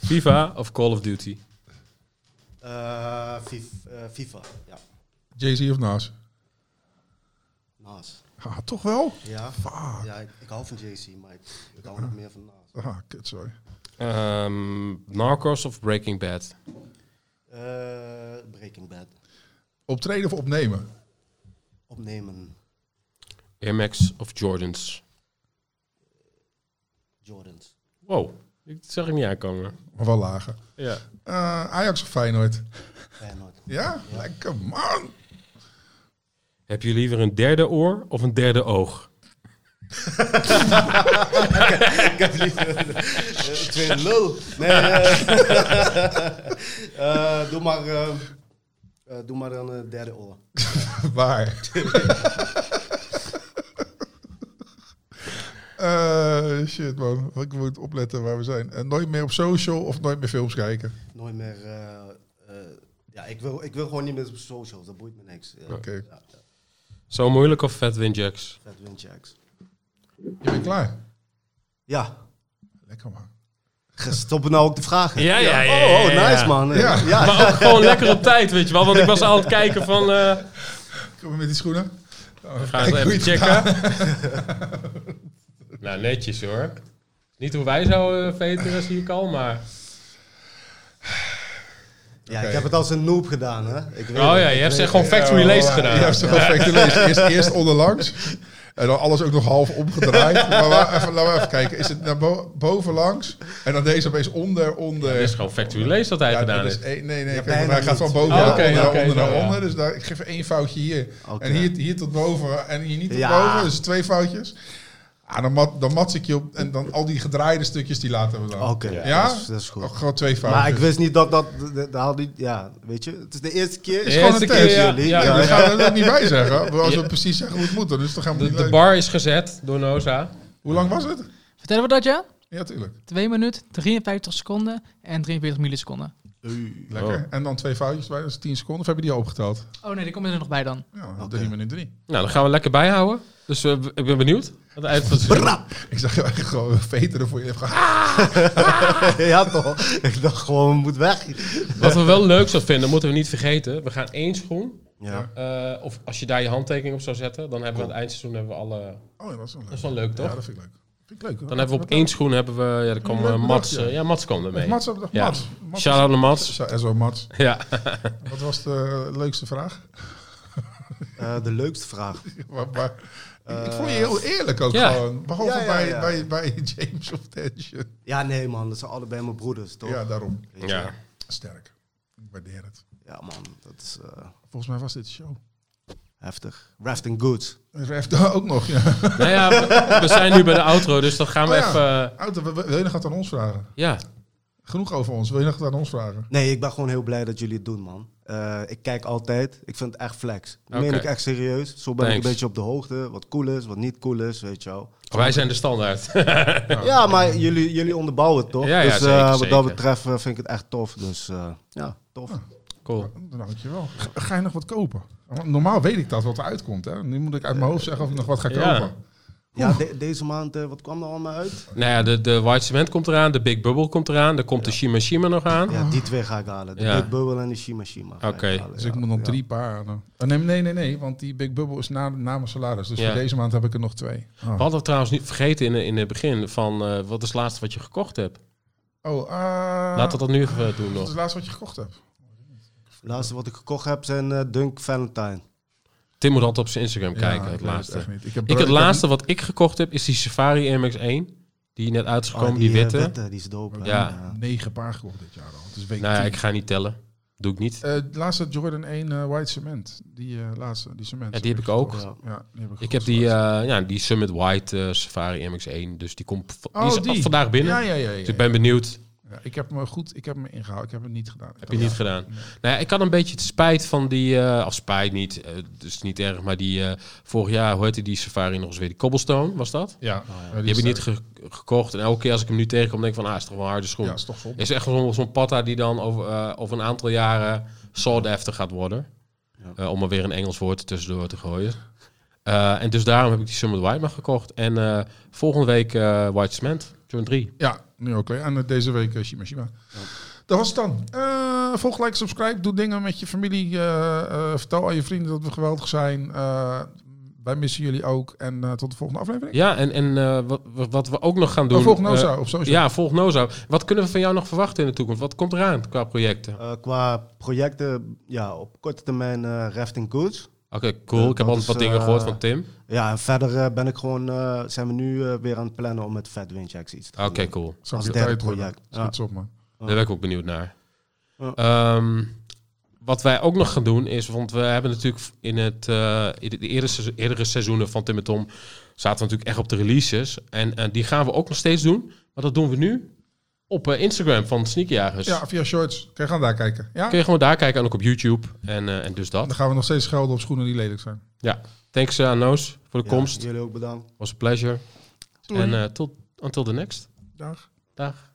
B: FIFA of Call of Duty?
C: Eh, Fif- eh, FIFA. Ja.
A: Jay-Z of Nas?
C: Naas.
A: Ah, toch wel?
C: Ja.
A: Fuck.
C: Ja, ik, ik hou van JC, maar ik, ik hou nog meer van Naas.
A: Ah, kut, sorry.
B: Ehm, Narcos of Breaking Bad?
C: Eh, Breaking Bad.
A: Optreden of opnemen?
C: Opnemen.
B: Air Max of Jordans?
C: Jordans.
B: Wow, dat zag ik niet aankomen.
A: Maar wel lager.
B: Ja.
A: Eh, Ajax of Feyenoord?
C: Feyenoord.
A: Ja? Lekker man!
B: Heb je liever een derde oor of een derde oog?
C: ik heb liever een eh, tweede lul. Nee, eh, eh, doe maar, eh, eh, doe maar dan een derde oor.
A: Waar? Eh, shit man, ik moet opletten waar we zijn. Eh, nooit meer op social of nooit meer films kijken?
C: Nooit meer. eh, eh, ja, ik wil, ik wil gewoon niet meer op social, dat boeit me niks. Ja,
A: Oké.
C: ja, ja.
B: Zo moeilijk of Fat Winjacks?
C: Vet windjacks.
A: Je bent klaar?
C: Ja,
A: Lekker man.
C: stoppen nou ook de vragen.
B: Ja, ja, ja,
C: Oh, oh,
B: ja, ja.
C: nice man.
A: Ja.
C: Ja.
B: Maar ook gewoon lekker op tijd, weet je wel. Want ik was al aan het kijken van... eh,
A: Kom maar met die schoenen. Nou, even
B: Oh, Gaan we
A: kijken hoe
B: even
A: je het gedaan
B: checken. nou, netjes hoor. Niet hoe wij zo eh, veteren, zie ik al, maar...
C: Ja,
A: Oké.
C: ik heb het als een noob gedaan, hè? Ik weet
B: Oh
C: het,
B: ja,
C: ik
B: je hebt
C: weet
B: ze gewoon
C: het.
B: factory laced
A: Je
B: gedaan.
A: hebt ze perfect gelezen. Eerst, eerst onderlangs. En dan alles ook nog half omgedraaid. Maar wa- even, laten we even kijken. Is het naar bo- boven langs? En dan deze opeens onder, onder.
B: Het is gewoon factory laced dat hij
A: Ja,
B: gedaan
A: dat is
B: heeft.
A: één- nee, nee,
C: Ja,
A: kijk,
C: bijna
A: want hij gaat
C: niet.
A: van boven
B: Oh,
A: naar
B: oké,
A: onder, naar
B: oké,
A: onder,
B: zo,
A: naar
B: ja.
A: onder. Dus daar, ik geef er één foutje hier.
C: Oké.
A: En hier, hier tot boven en hier niet tot
C: Ja.
A: boven. Dus twee foutjes. Ah, dan, mat, dan mats ik je op. En dan al die gedraaide stukjes, die laten we dan.
C: Oké,
A: Ja? Oh,
C: dat, is, dat is goed.
A: Ook gewoon twee foutjes.
C: Maar ik wist niet dat dat... dat, dat had niet- ja, weet je, het is de eerste keer.
A: is gewoon
B: Eerste
A: een test,
B: keer, ja.
C: jullie.
B: Ja,
A: Ja,
B: ja.
A: we gaan er ook niet bij zeggen. Maar Als we
B: Ja.
A: precies zeggen hoe het moet, dan is het toch helemaal
B: De,
A: niet
B: de
A: leuk.
B: bar is gezet door Noza.
A: Hoe lang was het?
D: Vertellen we dat, ja?
A: Ja, tuurlijk.
D: 2 minuten, 53 seconden en 43 milliseconden.
A: Lekker.
B: Oh.
A: En dan twee foutjes bij, dat is 10 seconden. Of heb je die al opgeteld?
D: Oh nee, die komen er nog bij dan.
A: Ja,
C: Oké.
A: 3 minuten 3.
B: Nou, dan gaan we lekker bijhouden. Dus eh, ik ben benieuwd. Aan het eind van het seizoen.
A: Ik zag je eigenlijk gewoon veteren voor je. hebt gehad.
C: ja, toch? Ik dacht gewoon, moet weg.
B: Wat we wel leuk zou vinden, moeten we niet vergeten. We gaan één schoen.
C: Ja.
B: eh, of als je daar je handtekening op zou zetten, dan hebben we aan het eindseizoen hebben we alle...
A: Oh, ja, dat is wel
B: Dat
A: leuk.
B: is wel leuk, toch?
A: Ja, dat vind ik leuk. Vind ik leuk. hoor.
B: Dan hebben we op
A: Wat
B: één schoen hebben we... Ja, dan kwam
A: Leuk
B: eh,
A: bedacht,
B: Mats...
A: ja.
B: eh, ja, Mats kwam
A: leuk.
B: ermee.
A: Mats, op de-
B: Ja.
A: Mats. Mats.
B: Shout-out naar Mats.
A: Zo- SO Mats.
B: Ja.
A: Wat was de leukste vraag?
C: Eh, de leukste vraag. Eh,
A: Maar, maar, ik vond je heel eerlijk ook
B: Ja.
A: gewoon. Behalve
C: Ja, ja, ja.
A: Bij, bij, bij James of Tension.
C: Ja, nee man, dat zijn allebei mijn broeders, toch?
A: Ja, daarom.
C: Weet je?
B: ja.
A: Sterk. Ik waardeer het.
C: Ja man, dat is eh,
A: Volgens mij was dit de show.
C: heftig. Rafting Goods.
A: Ref ook nog, ja.
B: Nou ja, we, we zijn nu bij de outro, dus dan gaan we
A: Oh ja.
B: even... eh,
A: Auto, wil- wil je nog wat aan ons vragen?
B: ja.
A: Genoeg over ons. Wil je nog wat aan ons vragen?
C: Nee, ik ben gewoon heel blij dat jullie het doen man. Eh, ik kijk altijd, ik vind het echt flex. Dat meen
B: Oké.
C: ik echt serieus. Zo ben ik
B: Thanks.
C: een beetje op de hoogte, wat cool is, wat niet cool is, weet je wel.
B: Wij zijn de standaard.
C: Ja, maar jullie, jullie onderbouwen het toch?
B: Ja, ja,
C: dus eh,
B: zeker,
C: wat
B: zeker.
C: dat betreft eh, vind ik het echt tof. Dus eh, ja, tof.
A: Ah.
B: Cool.
A: Dankjewel. Ga- Ga je nog wat kopen? Want Normaal weet ik dat wat er uitkomt. Hè? Nu moet ik uit mijn hoofd zeggen of ik nog wat ga
B: Ja.
A: kopen.
C: Ja, de- deze maand, eh, wat kwam er allemaal uit?
B: Nou ja, de, de White Cement komt eraan, de Big Bubble komt eraan, dan komt de Shima Shima nog aan.
C: Ja, die twee ga ik halen. De
B: Ja.
C: Big Bubble en de Shima Shima. ga ik
B: Oké.
C: halen,
A: Oh. Dus
C: ja.
A: ik moet nog
C: Ja.
A: drie paar aan. Oh, nee, nee, nee, nee, want die Big Bubble is na, na mijn salaris. Dus
B: Ja.
A: voor deze maand heb ik er nog twee. Oh,
B: We hadden het trouwens niet vergeten in, in het begin van eh, wat is het laatste wat je gekocht hebt.
A: oh eh,
B: Laten we dat nu even eh, doen
A: dat is
B: nog.
A: het laatste wat je gekocht hebt.
C: Laatste wat ik gekocht heb zijn eh, Dunk Valentine.
B: Dus Tim moet altijd op zijn Instagram kijken,
A: Ja, ik
B: het
A: weet
B: laatste.
A: echt niet. Ik heb
B: Ik, het
A: heb-
B: laatste wat ik gekocht heb is die Safari Air Max 1. Die net uit is
C: Oh,
B: gekomen, die,
C: eh,
B: witte.
C: Die is dope. hè.
B: Ja.
A: negen paar gekocht dit jaar al. Het is week
B: Nou ja,
A: tien.
B: ik ga niet tellen. Doe ik niet.
A: Eh, de laatste Jordan 1 eh, White Cement. Die eh, laatste, die cement.
B: Ja, die heb ik ook.
A: gekocht.
C: Ja.
A: Ja, die heb ik,
B: Ik heb
A: gekocht.
B: die, eh, ja, die Summit White eh, Safari MX-1. Dus die komt v- die
A: Oh,
B: is
A: die.
B: vandaag binnen.
A: Ja, ja, ja. ja,
B: Dus ik ben benieuwd.
A: ja. ik heb me goed, ik heb me ingehaald. Ik heb het niet gedaan.
B: Heb je niet gedaan? Nou ja, ik had een beetje het spijt van die... eh of spijt niet, eh, dus niet erg. Maar die eh, vorig jaar, hoe heette die Safari nog eens weer? Die Cobblestone, was dat?
A: Ja. ja,
B: Oh, Die heb
A: is eh,
B: ik niet ge- gekocht. En elke keer als ik hem nu tegenkom, denk ik van... Ah, is toch wel een harde schoen.
A: Ja, is toch zonde.
B: Is echt zo'n zo'n patta die dan over, eh, over een aantal jaren sought after gaat worden. Eh, om er weer een Engels woord tussendoor te gooien. Eh, en dus daarom heb ik die Summit White maar gekocht. En eh, volgende week eh, White Cement, John 3.
A: Ja, nu ook. En eh, deze week eh, Shima Shima. Dat was het dan. Eh, volg, like, subscribe. Doe dingen met je familie. eh, eh, vertel aan je vrienden dat we geweldig zijn. Eh, wij missen jullie ook. En eh, tot de volgende aflevering.
B: Ja, en, en eh, wat, wat- wat we ook nog gaan doen...
A: Oh, volg
B: eh,
A: Noza op social.
B: ja, volg Noza. Wat kunnen we van jou nog verwachten in de toekomst? Wat komt eraan qua projecten? Oké,
C: Eh, qua projecten, ja, op korte termijn eh Rafting Goods.
B: cool.
C: eh,
B: ik heb al
C: dat
B: wat
C: is,
B: dingen
C: eh,
B: gehoord van Tim.
C: Ja, en verder eh, ben ik gewoon, eh, zijn we nu eh, weer aan het plannen om met Fat Windjacks iets te
B: Oké,
C: gaan doen.
B: cool.
A: Zou
C: als
A: ik
C: derde
A: tijd worden.
C: project.
A: Schiet eens op, man.
B: Daar ben ik ook benieuwd naar.
C: Ja.
B: Ehm, wat wij ook nog gaan doen is, want we hebben natuurlijk in het eh, in de eerdere, seizo- eerdere seizoenen van Tim en Tom zaten we natuurlijk echt op de releases. En eh, die gaan we ook nog steeds doen. Maar dat doen we nu op eh, Instagram van Sneakjagers.
A: Ja, via shorts. Kun je gaan daar kijken. Ja?
B: Kun je gewoon daar kijken en ook op YouTube. En, eh, en dus
A: Dan
B: dat.
A: gaan we nog steeds schelden op schoenen die lelijk zijn.
B: Ja. Thanks eh, aan Noos voor de
C: Ja,
B: komst.
C: Jullie ook bedankt.
B: Was een pleasure.
A: Doei.
B: En eh tot until the next.
A: Dag.
B: Dag.